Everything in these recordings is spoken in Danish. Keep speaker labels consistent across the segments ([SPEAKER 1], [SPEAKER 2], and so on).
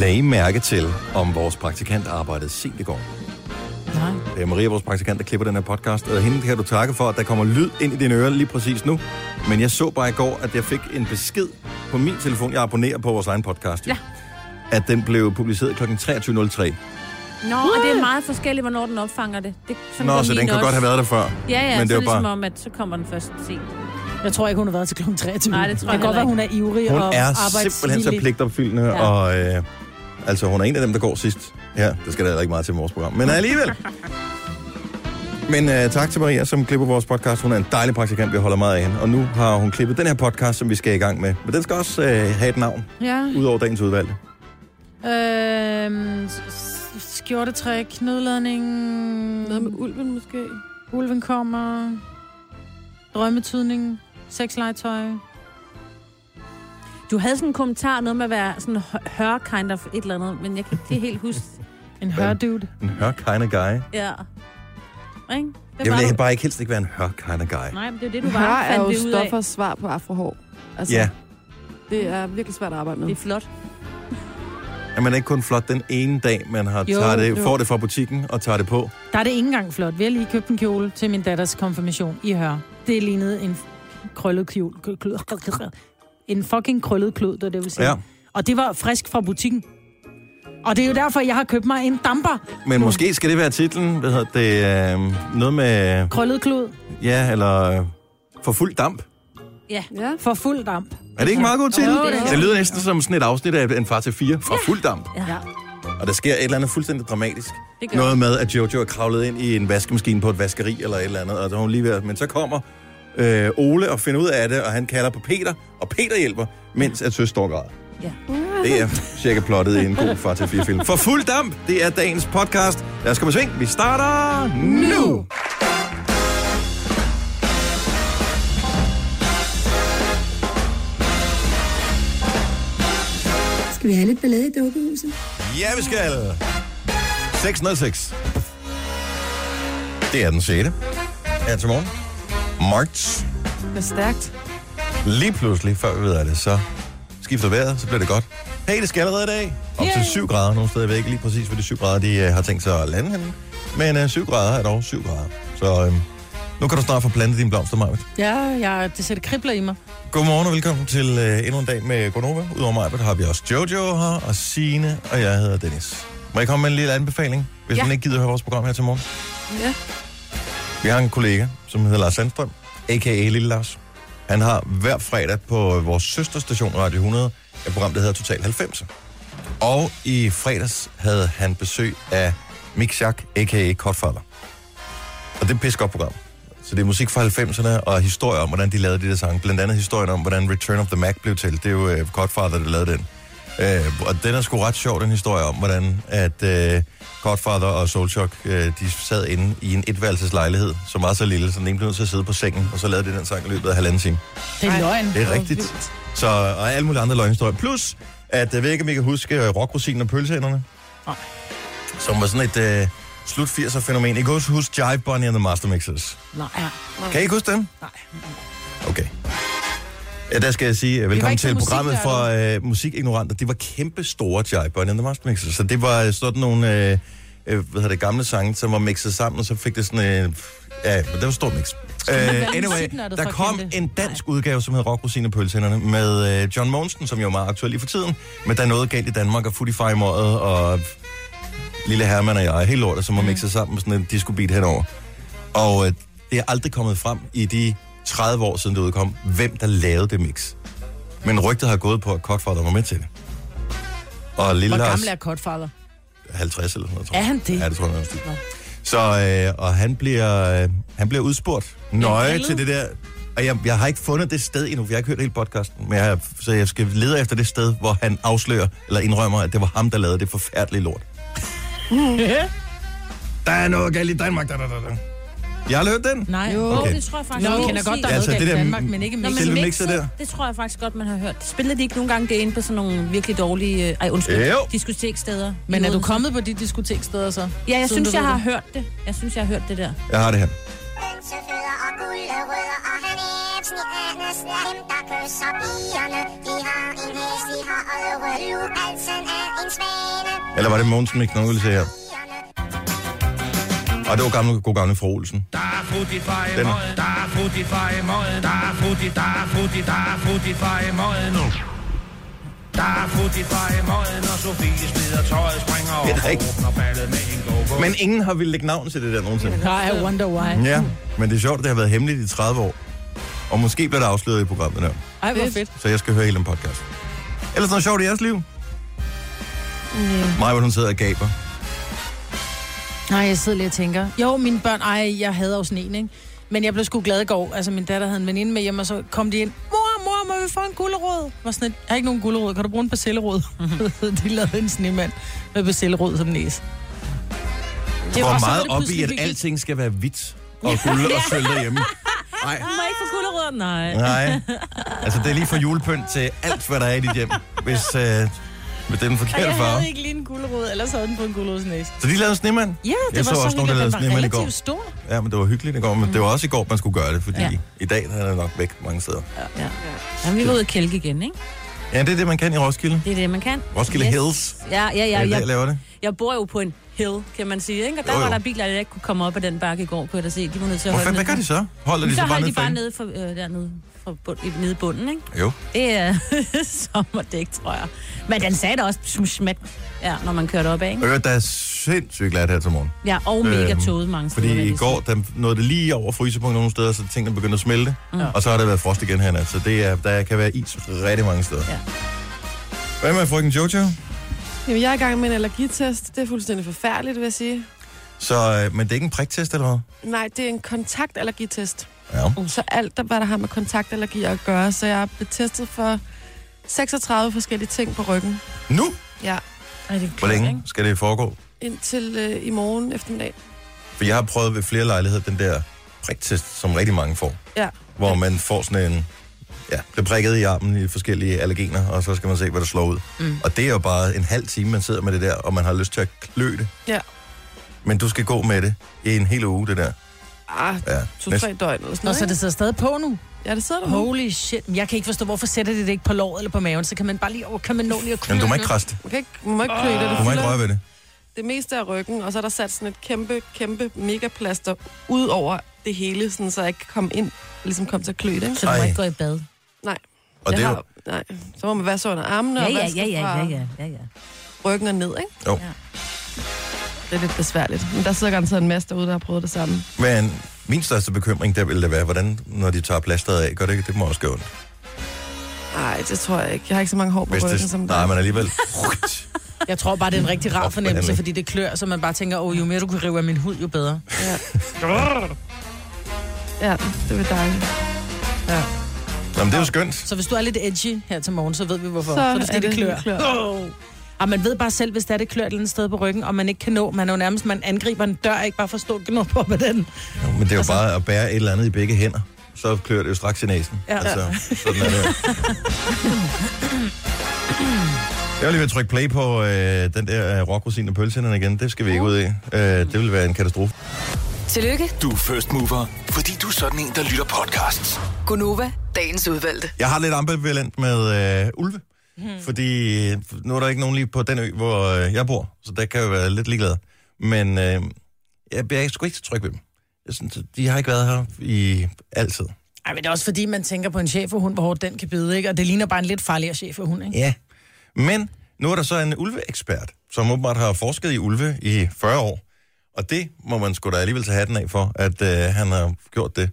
[SPEAKER 1] lagde mærke til, om vores praktikant arbejdede sent i går.
[SPEAKER 2] Nej.
[SPEAKER 1] Det er Maria, vores praktikant, der klipper den her podcast, og hende kan du takke for, at der kommer lyd ind i dine ører lige præcis nu. Men jeg så bare i går, at jeg fik en besked på min telefon, jeg abonnerer på vores egen podcast, ja. at den blev publiceret kl. 23.03.
[SPEAKER 3] Nå, og det er meget forskelligt, hvornår den opfanger det. det sådan
[SPEAKER 1] Nå,
[SPEAKER 3] går
[SPEAKER 1] så
[SPEAKER 3] min
[SPEAKER 1] den kan
[SPEAKER 3] også.
[SPEAKER 1] godt have været der før.
[SPEAKER 3] Ja, ja,
[SPEAKER 1] men det
[SPEAKER 3] så
[SPEAKER 1] var
[SPEAKER 3] ligesom
[SPEAKER 1] bare...
[SPEAKER 3] om, at så kommer den først sent.
[SPEAKER 2] Jeg tror ikke, hun har været til kl. 23.
[SPEAKER 3] Nej, det tror jeg
[SPEAKER 2] det kan godt være, hun
[SPEAKER 3] heller
[SPEAKER 2] er ivrig
[SPEAKER 1] Hun
[SPEAKER 2] og
[SPEAKER 1] er
[SPEAKER 2] arbejdsvillig.
[SPEAKER 1] simpelthen så pligtopfyldende, ja.
[SPEAKER 2] Ja.
[SPEAKER 1] og øh, altså, hun er en af dem, der går sidst. Ja, det skal der heller ikke meget til i vores program, men alligevel. Men øh, tak til Maria, som klipper vores podcast. Hun er en dejlig praktikant, vi holder meget af hende. Og nu har hun klippet den her podcast, som vi skal i gang med. Men den skal også øh, have et navn,
[SPEAKER 2] Ja.
[SPEAKER 1] ud over dagens udvalg.
[SPEAKER 2] Øhm, s- s- skjortetræk, knødladning...
[SPEAKER 3] Noget med ulven måske.
[SPEAKER 2] Ulven kommer... Drømmetydning, sexlegetøj.
[SPEAKER 3] Du havde sådan en kommentar, noget med at være sådan hø- hør kind of et eller andet, men jeg kan ikke lige helt huske.
[SPEAKER 2] En hørdude.
[SPEAKER 1] En hør kind of guy.
[SPEAKER 3] Ja. Ikke? Hvad
[SPEAKER 1] Jeg
[SPEAKER 3] var
[SPEAKER 1] vil
[SPEAKER 3] du?
[SPEAKER 1] bare ikke helst ikke være en hør kind of guy.
[SPEAKER 3] Nej, men det er jo det, du
[SPEAKER 4] Du
[SPEAKER 3] var,
[SPEAKER 4] Her er
[SPEAKER 3] fandt
[SPEAKER 4] jo
[SPEAKER 3] vi ud af.
[SPEAKER 4] Stoffers svar på afrohår. Altså,
[SPEAKER 1] Ja,
[SPEAKER 4] det er virkelig svært at arbejde med.
[SPEAKER 3] Det er flot.
[SPEAKER 1] at man er ikke kun flot den ene dag, man har
[SPEAKER 2] Jo,
[SPEAKER 1] tager det,
[SPEAKER 2] jo.
[SPEAKER 1] får det fra butikken og tager det på.
[SPEAKER 2] Der er det ikke engang flot. Vi har lige købt en kjole til min datters konfirmation i hør. Det lignede en krøllet kjole. Kl- kl- En fucking krøllet klud, det var det, vil sige.
[SPEAKER 1] Ja.
[SPEAKER 2] Og det var frisk fra butikken. Og det er jo derfor, jeg har købt mig en damper.
[SPEAKER 1] Men måske skal det være titlen. Hvad hedder det? Øh, noget med...
[SPEAKER 2] Krøllet klud
[SPEAKER 1] Ja, eller øh, for fuld damp.
[SPEAKER 4] Ja.
[SPEAKER 2] for fuld damp.
[SPEAKER 1] Er det ikke meget god til?
[SPEAKER 2] Jo, det er.
[SPEAKER 1] det lyder næsten som sådan et afsnit af en far til fire fra fuld damp.
[SPEAKER 2] Ja.
[SPEAKER 1] Og der sker et eller andet fuldstændig dramatisk.
[SPEAKER 3] Det gør
[SPEAKER 1] Noget med, at Jojo er kravlet ind i en vaskemaskine på et vaskeri eller et eller andet. Og så er hun lige ved, at- men så kommer øh, Ole og finder ud af det, og han kalder på Peter. Og Peter hjælper, mens at søs står og græder.
[SPEAKER 3] Ja.
[SPEAKER 1] Det er cirka plottet i en god far til fire film. For fuld damp, det er dagens podcast. Lad os komme i sving. Vi starter nu.
[SPEAKER 5] Skal vi have lidt ballade i dukkehuset?
[SPEAKER 1] Ja, vi skal. 606. Det er den 6. Ja, til morgen. Marts.
[SPEAKER 4] Det er stærkt.
[SPEAKER 1] Lige pludselig, før vi ved af det, så skifter vejret, så bliver det godt. Hey, det skal allerede i dag. Op til 7 grader nogle steder. Jeg ved ikke lige præcis, hvor de 7 grader, de øh, har tænkt sig at lande henne. Men øh, 7 grader er dog 7 grader. Så øh, nu kan du snart få plantet dine blomster, Marvitt.
[SPEAKER 2] Ja, ja, det sætter kribler i mig.
[SPEAKER 1] Godmorgen og velkommen til øh, endnu en dag med Gonova. Udover mig har vi også Jojo her, og Sine og jeg hedder Dennis. Må jeg komme med en lille anbefaling, hvis ja.
[SPEAKER 3] Ja.
[SPEAKER 1] man ikke gider høre vores program her til morgen?
[SPEAKER 4] Ja.
[SPEAKER 1] Vi har en kollega, som hedder Lars Sandstrøm, a.k.a. Lille Lars. Han har hver fredag på vores søsterstation Radio 100 et program, der hedder Total 90. Og i fredags havde han besøg af Mick Schack, a.k.a. Kortfaller. Og det er et pisse godt program. Så det er musik fra 90'erne og historier om, hvordan de lavede de der sange. Blandt andet historien om, hvordan Return of the Mac blev til. Det er jo øh, Godfather, der lavede den. Øh, og den er sgu ret sjov, den historie om, hvordan at øh, Godfather og Soulshock, øh, de sad inde i en etværelseslejlighed, som var så lille, så den ene blev nødt til at sidde på sengen, og så lavede de den sang i løbet af halvanden time.
[SPEAKER 2] Det er løgn.
[SPEAKER 1] Det er rigtigt. Så, og alle mulige andre løgnhistorier. Plus, at jeg ved ikke, om I kan huske øh, rockrosinen og pølseænderne.
[SPEAKER 2] Nej.
[SPEAKER 1] Som var sådan et øh, slut 80'er fænomen. I kan også huske Jive Bunny and the Master Mixers.
[SPEAKER 2] Nej, ja.
[SPEAKER 1] Kan I ikke huske dem?
[SPEAKER 2] nej.
[SPEAKER 1] Okay. Ja, der skal jeg sige uh, velkommen
[SPEAKER 2] ikke så
[SPEAKER 1] til programmet for
[SPEAKER 2] musiknørder.
[SPEAKER 1] uh, Musikignoranter. Det var kæmpe store Jive Bunny and the Master Mixers. Så det var øh, sådan nogle øh, øh, hvad hedder det, gamle sange, som var mixet sammen, og så fik det sådan... Uh, ja, men det var stor mix. Uh,
[SPEAKER 2] være
[SPEAKER 1] anyway,
[SPEAKER 2] musiknørdet
[SPEAKER 1] der
[SPEAKER 2] for at
[SPEAKER 1] kom
[SPEAKER 2] kende det?
[SPEAKER 1] en dansk udgave, som hed Rock, Rosine og Pølsehænderne, med uh, John Monsen, som jo er meget aktuel i for tiden, men der er noget galt i Danmark, og Footy Fire i Møget, og Lille Herman og jeg, og hele lortet,
[SPEAKER 2] Mm.
[SPEAKER 1] som var mixet sammen med sådan en disco beat henover. Og øh, det er aldrig kommet frem i de 30 år siden det udkom, hvem der lavede det mix. Men rygtet har gået på, at Cockfather var med til det. Og Lille
[SPEAKER 2] Hvor
[SPEAKER 1] Lars,
[SPEAKER 2] gammel er Godfather?
[SPEAKER 1] 50 eller sådan noget, tror
[SPEAKER 2] Er
[SPEAKER 1] jeg.
[SPEAKER 2] han det?
[SPEAKER 1] Ja, det tror jeg, han er. Så, øh, og han bliver, øh, han bliver udspurgt nøje
[SPEAKER 2] Grillet?
[SPEAKER 1] til det der. Og jeg, jeg har ikke fundet det sted endnu, for jeg har ikke hørt hele podcasten, men jeg, har- så jeg skal lede efter det sted, hvor han afslører, eller indrømmer, at det var ham, der lavede det forfærdelige lort. der er noget galt i Danmark. Da, da, da, da. Jeg har hørt den.
[SPEAKER 2] Nej. Jo.
[SPEAKER 3] Jo,
[SPEAKER 1] Okay.
[SPEAKER 3] okay. det tror jeg faktisk.
[SPEAKER 2] Nå,
[SPEAKER 3] jeg
[SPEAKER 2] jeg kender godt, der
[SPEAKER 1] Ja,
[SPEAKER 2] er
[SPEAKER 1] altså,
[SPEAKER 2] noget
[SPEAKER 1] det
[SPEAKER 2] galt i
[SPEAKER 1] der-
[SPEAKER 2] Danmark, men ikke
[SPEAKER 3] Nå,
[SPEAKER 2] mixet.
[SPEAKER 1] Selve
[SPEAKER 3] men
[SPEAKER 1] mixet
[SPEAKER 3] mixet,
[SPEAKER 1] der.
[SPEAKER 3] der. det tror jeg faktisk godt, man har hørt. Spiller de ikke nogle gange det inde på sådan nogle virkelig dårlige, øh, ej undskyld,
[SPEAKER 1] Jo.
[SPEAKER 3] diskoteksteder? i
[SPEAKER 2] Men er du
[SPEAKER 3] Odense?
[SPEAKER 2] kommet på de diskoteksteder så?
[SPEAKER 3] Ja, jeg
[SPEAKER 2] siden
[SPEAKER 3] synes,
[SPEAKER 2] du
[SPEAKER 3] jeg
[SPEAKER 2] ved
[SPEAKER 3] har
[SPEAKER 2] det?
[SPEAKER 3] hørt det. Jeg synes, jeg har hørt det der.
[SPEAKER 1] Jeg har det her.
[SPEAKER 6] Bamse føder og guld og rødder, og han er et vi Andersen er dem, der kysser pigerne. De har en hest, de har øje, halsen er en svane.
[SPEAKER 1] Eller var det Mogensen McNuggle, sagde her? Og det var gamle, god gamle fru Olsen.
[SPEAKER 7] Der er frutti fra i
[SPEAKER 1] Den.
[SPEAKER 7] morgen, der er frutti fra i morgen, der er frutti, der er frutti, der er frutti fra i morgen nu. Der er frutti fra i morgen, når Sofie smider tøjet, springer
[SPEAKER 1] Det er
[SPEAKER 7] over
[SPEAKER 1] rigtigt.
[SPEAKER 7] og åbner ballet med en go-go.
[SPEAKER 1] Men ingen har ville lægge navn til det der nogensinde.
[SPEAKER 2] Nej, I wonder why.
[SPEAKER 1] Ja, men det er sjovt, at det har været hemmeligt i 30 år. Og måske bliver det afsløret i programmet der.
[SPEAKER 2] Ej, hvor fedt.
[SPEAKER 1] Så jeg skal høre hele den podcast. Ellers noget sjovt i jeres liv? Yeah. Maja, hun sidder og gaber.
[SPEAKER 2] Mm. Nej, jeg sidder lige og tænker. Jo, mine børn, ej, jeg havde også en, ikke? Men jeg blev sgu glad i går. Altså, min datter havde en veninde med hjemme, og så kom de ind. Mor, mor, må vi få en gulerod? Var sådan et, jeg har ikke nogen gulerod. Kan du bruge en basillerod? de lavede en snemand med basillerod som
[SPEAKER 1] Det
[SPEAKER 2] næse. var-
[SPEAKER 1] Hvor
[SPEAKER 2] så var
[SPEAKER 1] meget
[SPEAKER 2] det
[SPEAKER 1] op i,
[SPEAKER 2] pludselig
[SPEAKER 1] at
[SPEAKER 2] hyggeligt.
[SPEAKER 1] alting skal være hvidt og guld og sølv derhjemme. Nej,
[SPEAKER 3] Du må ikke få gulerødder, nej.
[SPEAKER 1] nej. Altså, det er lige fra julepynt til alt, hvad der er i dit hjem, hvis, øh, hvis det er den
[SPEAKER 2] Og
[SPEAKER 1] forkerte
[SPEAKER 2] jeg
[SPEAKER 1] farve.
[SPEAKER 2] havde ikke lige en gulerod, ellers havde den på en gulerodsnæse.
[SPEAKER 1] Så de lavede en snemand?
[SPEAKER 2] Ja, det
[SPEAKER 1] Jeg
[SPEAKER 2] var
[SPEAKER 1] så også
[SPEAKER 2] så
[SPEAKER 1] nogen, der lavede
[SPEAKER 2] hyggeligt. Den var
[SPEAKER 1] snemand i går.
[SPEAKER 2] relativt stor.
[SPEAKER 1] Ja, men det var hyggeligt i går, men mm. det var også i går, man skulle gøre det, fordi ja.
[SPEAKER 3] Ja.
[SPEAKER 1] i dag der er det nok væk mange steder.
[SPEAKER 3] Ja. Jamen, vi var ude at kælke igen, ikke?
[SPEAKER 1] Ja, det er det, man kan i Roskilde.
[SPEAKER 3] Det er det, man kan.
[SPEAKER 1] Roskilde yes. Hills.
[SPEAKER 3] Ja, ja,
[SPEAKER 1] Ja,
[SPEAKER 3] ja.
[SPEAKER 1] ja,
[SPEAKER 3] Jeg,
[SPEAKER 1] jeg laver det.
[SPEAKER 3] jeg bor jo på en hill, kan man sige, ikke? Og der
[SPEAKER 1] Jo,
[SPEAKER 3] jo,
[SPEAKER 1] jo.
[SPEAKER 3] jo. var der biler, der ikke kunne komme op ad den bakke i går, kunne jeg da se. De var nødt til at
[SPEAKER 1] Hvor fanden,
[SPEAKER 3] holde
[SPEAKER 1] hvad gør de så? Holder de
[SPEAKER 3] Så
[SPEAKER 1] så, bare
[SPEAKER 3] holdt
[SPEAKER 1] ned
[SPEAKER 3] de
[SPEAKER 1] for
[SPEAKER 3] bare
[SPEAKER 1] hende?
[SPEAKER 3] nede, for, øh, dernede fra bund, i- nede i bunden, ikke?
[SPEAKER 1] Jo.
[SPEAKER 3] Det er sommerdæk, tror jeg. Men den sagde da også sm- smat, ja, når man kørte op af, ikke?
[SPEAKER 1] Og øh, der er sindssygt glat her til morgen.
[SPEAKER 3] Ja, og mega tåget mange steder. vil
[SPEAKER 1] Øhm, Fordi i
[SPEAKER 3] jeg
[SPEAKER 1] går der nåede det lige over frysepunkt nogle steder, så tingene begyndte at smelte. Mm. Og så har der været frost igen her i nat, så det er, der kan være is rigtig mange steder. Ja.
[SPEAKER 3] Ja.
[SPEAKER 1] Hvad med frøken Jojo?
[SPEAKER 4] Jamen, jeg er i gang med en allergitest. Det er fuldstændig forfærdeligt, vil jeg sige.
[SPEAKER 1] Så, øh, men det er ikke en priktest eller hvad?
[SPEAKER 4] Nej, det er en kontaktallergitest. Mm.
[SPEAKER 1] Ja.
[SPEAKER 4] Så alt, der, hvad der har med kontaktallergi at gøre, så jeg er blevet testet for 36 forskellige ting på ryggen.
[SPEAKER 1] Nu?
[SPEAKER 4] Ja,
[SPEAKER 3] Ej, det er
[SPEAKER 1] Hvor
[SPEAKER 3] klart, ikke?
[SPEAKER 1] længe skal det foregå?
[SPEAKER 4] indtil øh, i morgen eftermiddag.
[SPEAKER 1] For jeg har prøvet ved flere lejligheder den der priktest, som rigtig mange får.
[SPEAKER 4] Ja.
[SPEAKER 1] Hvor man får sådan en... Ja, bliver prikket i armen i forskellige allergener, og så skal man se, hvad der slår ud. Mm. Og det er jo bare en halv time, man sidder med det der, og man har lyst til at klø det.
[SPEAKER 4] Ja.
[SPEAKER 1] Men du skal gå med det i en hel uge, det der.
[SPEAKER 4] Ah,
[SPEAKER 1] Ja,
[SPEAKER 4] to-tre døgn eller sådan
[SPEAKER 2] Og
[SPEAKER 4] noget.
[SPEAKER 2] så det
[SPEAKER 4] ikke?
[SPEAKER 2] sidder stadig på nu.
[SPEAKER 4] Ja, det sidder der nu.
[SPEAKER 2] Holy shit. Men Jeg kan ikke forstå, hvorfor sætter de det ikke på låret eller på maven? Så kan man bare lige over, kan man nå lige at klø
[SPEAKER 1] Men du må
[SPEAKER 2] den?
[SPEAKER 1] ikke krasse det.
[SPEAKER 4] Man, kan ikke, man må ikke klø det.
[SPEAKER 1] Du
[SPEAKER 4] Det,
[SPEAKER 1] må ikke
[SPEAKER 4] fylder
[SPEAKER 1] røre ved det.
[SPEAKER 4] det meste af ryggen, og så er der sat sådan et kæmpe, kæmpe megaplaster ud over det hele, sådan, så jeg ikke kan komme ind, ligesom komme til at klø det. ikke?
[SPEAKER 3] Så du må
[SPEAKER 1] Ej.
[SPEAKER 3] ikke gå i bad.
[SPEAKER 4] Nej.
[SPEAKER 1] Og
[SPEAKER 4] jeg
[SPEAKER 1] det er jo...
[SPEAKER 4] har, nej, så må man vaske under armene
[SPEAKER 3] Ja,
[SPEAKER 4] og
[SPEAKER 3] ja,
[SPEAKER 4] vaske
[SPEAKER 3] ja, ja,
[SPEAKER 4] fra
[SPEAKER 3] ja, ja, ja, ja.
[SPEAKER 4] ryggen og ned, ikke?
[SPEAKER 1] Jo.
[SPEAKER 3] Ja.
[SPEAKER 4] Det er lidt besværligt. Men der sidder garanteret en masse derude, der har prøvet det samme.
[SPEAKER 1] Men min største bekymring, der ville det være, hvordan, når de tager plasteret af, gør det ikke? Det må også gøre ondt.
[SPEAKER 4] Nej, det tror jeg ikke. Jeg har ikke så mange hår på
[SPEAKER 1] Hvis
[SPEAKER 4] ryggen,
[SPEAKER 1] det...
[SPEAKER 4] som
[SPEAKER 1] Nej,
[SPEAKER 4] dig.
[SPEAKER 1] men alligevel...
[SPEAKER 2] Jeg tror bare, det er en rigtig rar
[SPEAKER 1] Fuck,
[SPEAKER 2] fornemmelse,
[SPEAKER 1] hvordan-
[SPEAKER 2] fordi det klør, så man bare tænker, åh, jo mere du kan rive af min hud, jo bedre.
[SPEAKER 4] Ja. ja, det var dejligt.
[SPEAKER 1] Nå, men det er jo skønt.
[SPEAKER 2] Så hvis du er lidt edgy her til morgen, så ved vi hvorfor.
[SPEAKER 4] Så
[SPEAKER 2] Så, så er det,
[SPEAKER 4] er
[SPEAKER 2] fordi
[SPEAKER 4] det
[SPEAKER 2] det klør.
[SPEAKER 4] klør.
[SPEAKER 2] Oh. Og man ved bare selv, hvis der er det klør et eller andet sted på ryggen, og man ikke kan nå, man er jo nærmest, man angriber en dør, ikke bare for stort knop på med den.
[SPEAKER 1] Jo, men det er jo
[SPEAKER 2] Altså-
[SPEAKER 1] bare at bære et eller andet i begge hænder. Så klør det jo straks i næsen.
[SPEAKER 2] Ja.
[SPEAKER 1] Altså, sådan er det. jo. Jeg var lige ved at trykke play på øh, den der øh, rockrosin og pølsehænderne igen. Det skal vi ikke ud i. Øh, det ville være en katastrofe.
[SPEAKER 8] Tillykke,
[SPEAKER 9] Du er first mover, fordi du er sådan en, der lytter podcasts.
[SPEAKER 8] Gunova, dagens udvalgte.
[SPEAKER 1] Jeg har lidt ambivalent med øh, ulve. Hmm. Fordi øh, nu er der ikke nogen lige på den ø, hvor øh, jeg bor. Så der kan jeg jo være lidt ligeglad. Men øh, jeg bliver sgu ikke så tryg ved dem. Jeg synes, de har ikke været her i altid.
[SPEAKER 2] Ej, men det er også fordi, man tænker på en cheferhund, hvor hårdt den kan bide, ikke? Og det ligner bare en lidt farligere cheferhund, ikke?
[SPEAKER 1] Ja. Men nu er der så en ulveekspert, som åbenbart har forsket i ulve i 40 år. Og det må man sgu da alligevel tage hatten af for, at øh, han har gjort det.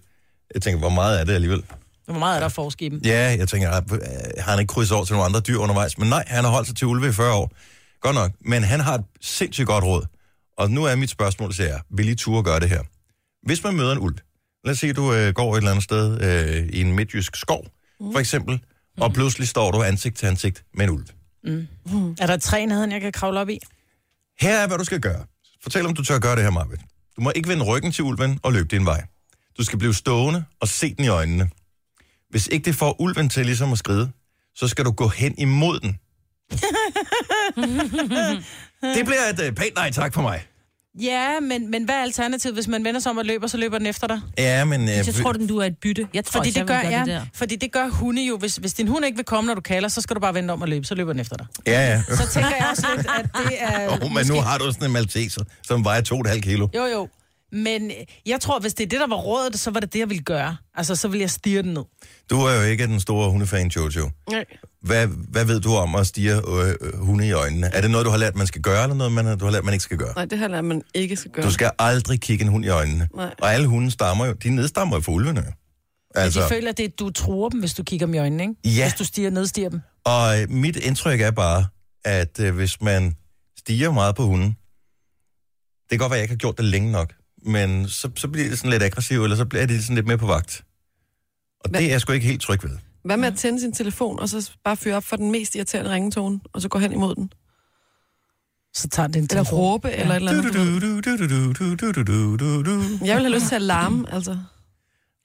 [SPEAKER 1] Jeg tænker, hvor meget er det alligevel?
[SPEAKER 2] Hvor meget er der at forske i dem?
[SPEAKER 1] Ja, jeg tænker, ah, øh, har han ikke krydset over til nogle andre dyr undervejs? Men nej, han har holdt sig til ulve i 40 år. Godt nok. Men han har et sindssygt godt råd. Og nu er mit spørgsmål til jer, vil I turde gøre det her? Hvis man møder en ulv, lad os sige, du øh, går et eller andet sted øh, i en midtjysk skov, mm. for eksempel, og pludselig står du ansigt til ansigt med en ulv.
[SPEAKER 2] Mm. Er der et træ i nærheden, jeg kan kravle op i?
[SPEAKER 1] Her er, hvad du skal gøre. Fortæl, om du tør gøre det her, Marvind. Du må ikke vende ryggen til ulven og løbe din vej. Du skal blive stående og se den i øjnene. Hvis ikke det får ulven til ligesom at skride, så skal du gå hen imod den. det bliver et øh, pænt nej tak for mig.
[SPEAKER 2] Ja, men, men hvad er alternativet? Hvis man vender sig om og løber, så løber den efter dig.
[SPEAKER 1] Ja, men... Øh,
[SPEAKER 3] Jeg tror, den du er et bytte. Jeg tror,
[SPEAKER 2] Fordi
[SPEAKER 3] ikke, jeg
[SPEAKER 2] det, gør,
[SPEAKER 3] vil gøre
[SPEAKER 2] ja,
[SPEAKER 3] det der.
[SPEAKER 2] fordi det gør hunde jo. Hvis, hvis din hund ikke vil komme, når du kalder, så skal du bare vende om og løbe, så løber den efter dig.
[SPEAKER 1] ja, ja.
[SPEAKER 2] Så tænker jeg også lidt, at det er...
[SPEAKER 1] Jo, men nu har du sådan en malteser, som vejer 2,5 kilo.
[SPEAKER 2] Jo, jo. Men øh, jeg tror, hvis det er det, der var rådet, så var det det, jeg ville gøre. Altså, så ville jeg stirre den ned.
[SPEAKER 1] Du er jo ikke den store hundefan, Jojo.
[SPEAKER 4] Nej.
[SPEAKER 1] Hvad, hvad ved du om at stige øh, øh, hunde i øjnene? Er det noget, du har lært, man skal gøre, eller noget, man, har- du har lært, man ikke skal gøre?
[SPEAKER 4] Nej, det her lader man ikke skal gøre.
[SPEAKER 1] Du skal aldrig kigge en hund i øjnene.
[SPEAKER 4] Nej.
[SPEAKER 1] Og alle hunde stammer jo, de nedstammer jo fra ulvene. jo.
[SPEAKER 2] Altså...
[SPEAKER 1] Altså,
[SPEAKER 2] De føler, at det, er, du tror dem, hvis du kigger dem i øjnene, ikke?
[SPEAKER 1] Ja.
[SPEAKER 2] Hvis du stiger, nedstiger dem.
[SPEAKER 1] og øh, mit indtryk er bare, at øh, hvis man stiger meget på hunden, det kan godt være, at jeg ikke har gjort det længe nok, men så, så bliver de sådan lidt aggressive, eller så bliver de sådan lidt mere på vagt. Og
[SPEAKER 4] Hvad-
[SPEAKER 1] det er jeg sgu ikke helt tryg ved.
[SPEAKER 4] Hvad med at tænde sin telefon, og så bare fyre op for den mest irriterende ringetone, og så gå hen imod den?
[SPEAKER 2] Så tager den
[SPEAKER 4] Eller
[SPEAKER 2] telefon.
[SPEAKER 4] råbe, ja. eller et eller andet. Jeg vil have lyst til at larme, altså.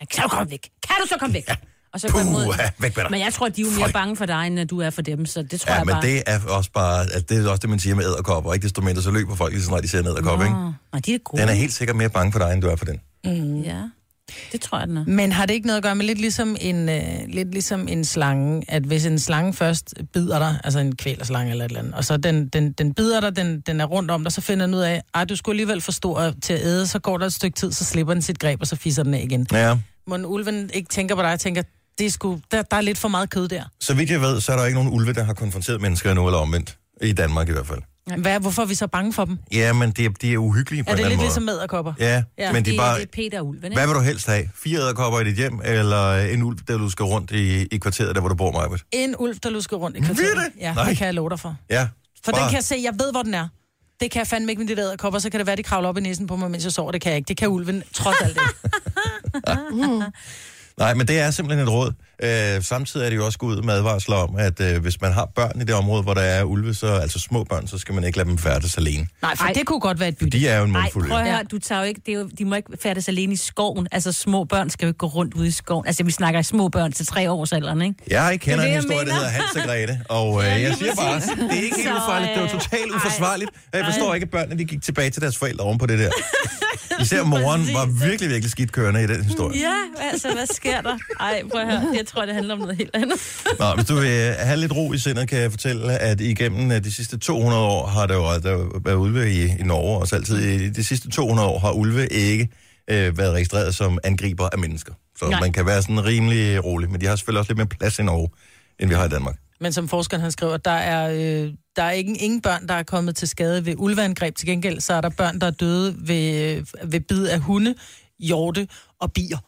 [SPEAKER 3] Ja, Kan du komme væk? Kan du så komme væk? Og så gå imod.
[SPEAKER 1] Puh, væk med dig.
[SPEAKER 3] Men jeg tror, de er jo mere
[SPEAKER 1] Føj.
[SPEAKER 3] bange for dig, end at du er for dem, så det tror
[SPEAKER 1] Ja,
[SPEAKER 3] jeg
[SPEAKER 1] men
[SPEAKER 3] bare.
[SPEAKER 1] det er også bare, altså, det er også det, man siger med æderkopper, ikke desto mindre, så løber folk lige så snart, de ser en æderkop, ikke?
[SPEAKER 3] Åh, Nej, de er gode.
[SPEAKER 1] Den
[SPEAKER 3] Mhm.
[SPEAKER 1] er helt sikkert mere bange for dig, end du er for den.
[SPEAKER 3] Ja, det tror jeg, den er.
[SPEAKER 2] Men har det ikke noget at gøre med lidt ligesom en, øh, lidt ligesom en slange, at hvis en slange først bider dig, altså en kvælerslange eller et eller andet, og så den, den, den bider dig, den, den er rundt om dig, så finder den ud af, at du skulle alligevel for stor til at æde, så går der et stykke tid, så slipper den sit greb, og så fisser den af igen.
[SPEAKER 1] Ja.
[SPEAKER 2] Må en ulven ikke tænker på dig og tænker, det er sgu, der, der er lidt for meget kød der.
[SPEAKER 1] Så vidt jeg ved, så er der ikke nogen ulve, der har konfronteret mennesker endnu, eller omvendt. I Danmark i hvert fald.
[SPEAKER 2] Hvad, hvorfor er vi så bange for dem?
[SPEAKER 1] Ja, men de er, de er uhyggelige på
[SPEAKER 2] Er
[SPEAKER 1] en
[SPEAKER 2] det
[SPEAKER 1] eller
[SPEAKER 2] lidt
[SPEAKER 1] anden
[SPEAKER 2] ligesom æderkopper?
[SPEAKER 1] måde. Ja,
[SPEAKER 2] Ja,
[SPEAKER 1] ja, men de
[SPEAKER 3] Det
[SPEAKER 1] er
[SPEAKER 3] er,
[SPEAKER 1] bare...
[SPEAKER 3] det er Peter og ulven, ikke?
[SPEAKER 1] Hvad vil du helst have? Fire æderkopper i dit hjem, eller en ulv, der du skal rundt i, i kvarteret, der hvor du bor, Majbet?
[SPEAKER 2] En ulv, der lusker rundt i kvarteret.
[SPEAKER 1] Vil det?
[SPEAKER 2] Ja,
[SPEAKER 1] Nej.
[SPEAKER 2] det kan jeg love dig for.
[SPEAKER 1] Ja.
[SPEAKER 2] For
[SPEAKER 1] bare-
[SPEAKER 2] den kan jeg se, jeg ved, hvor den er. Det kan jeg fandme ikke med de der æderkopper, så kan det være, de kravler op i næsen på mig, mens jeg sover. Det kan jeg ikke. Det kan ulven trods alt ikke.
[SPEAKER 1] Nej, men det er simpelthen et råd. Øh, samtidig er det jo også gået ud med advarsler om, at øh, hvis man har børn i det område, hvor der er ulve, så, altså små børn, så skal man ikke lade dem færdes alene.
[SPEAKER 2] Nej, for
[SPEAKER 3] Ej.
[SPEAKER 2] det kunne godt være et bytte.
[SPEAKER 1] De er jo en
[SPEAKER 3] Nej,
[SPEAKER 1] mundfuld.
[SPEAKER 3] prøv at
[SPEAKER 2] Ja.
[SPEAKER 3] høre, du tager jo ikke, det er jo, de må ikke færdes alene i skoven. Altså, små børn skal jo ikke gå rundt ude i skoven. Altså, vi snakker små børn til tre års alderen, ikke?
[SPEAKER 1] Jeg kender
[SPEAKER 3] Det
[SPEAKER 1] det,
[SPEAKER 3] er
[SPEAKER 1] en
[SPEAKER 3] det,
[SPEAKER 1] historie,
[SPEAKER 3] jeg
[SPEAKER 1] der hedder Hans og Grete, og øh, jeg siger bare, det er ikke helt
[SPEAKER 3] Så,
[SPEAKER 1] ufarligt, det var
[SPEAKER 3] øh,
[SPEAKER 1] totalt
[SPEAKER 3] ej.
[SPEAKER 1] uforsvarligt. Og Jeg forstår ikke, at børnene de gik tilbage til deres forældre oven på det der. Især moren var virkelig, virkelig skidt kørende i den historie.
[SPEAKER 3] Ja, altså, hvad sker der? Ej, prøv at høre, jeg tror, det handler om noget helt andet.
[SPEAKER 1] Nå, hvis du vil øh, have lidt ro i sindet, kan jeg fortælle, at igennem øh, de sidste 200 år har der jo øh, der har jo været ulve i, i Norge, og så altid i de sidste 200 år har ulve ikke øh, været registreret som angriber af mennesker. Så Nej.
[SPEAKER 3] Nej.
[SPEAKER 1] man kan være sådan rimelig rolig, men de har selvfølgelig også lidt mere plads i Norge, end vi har i Danmark.
[SPEAKER 2] Men som forskeren han skriver, der er, øh, der er ikke, ingen børn, der er kommet til skade ved ulveangreb. Til gengæld så er der børn, der er døde ved, øh, ved bid af hunde, hjorte og bier.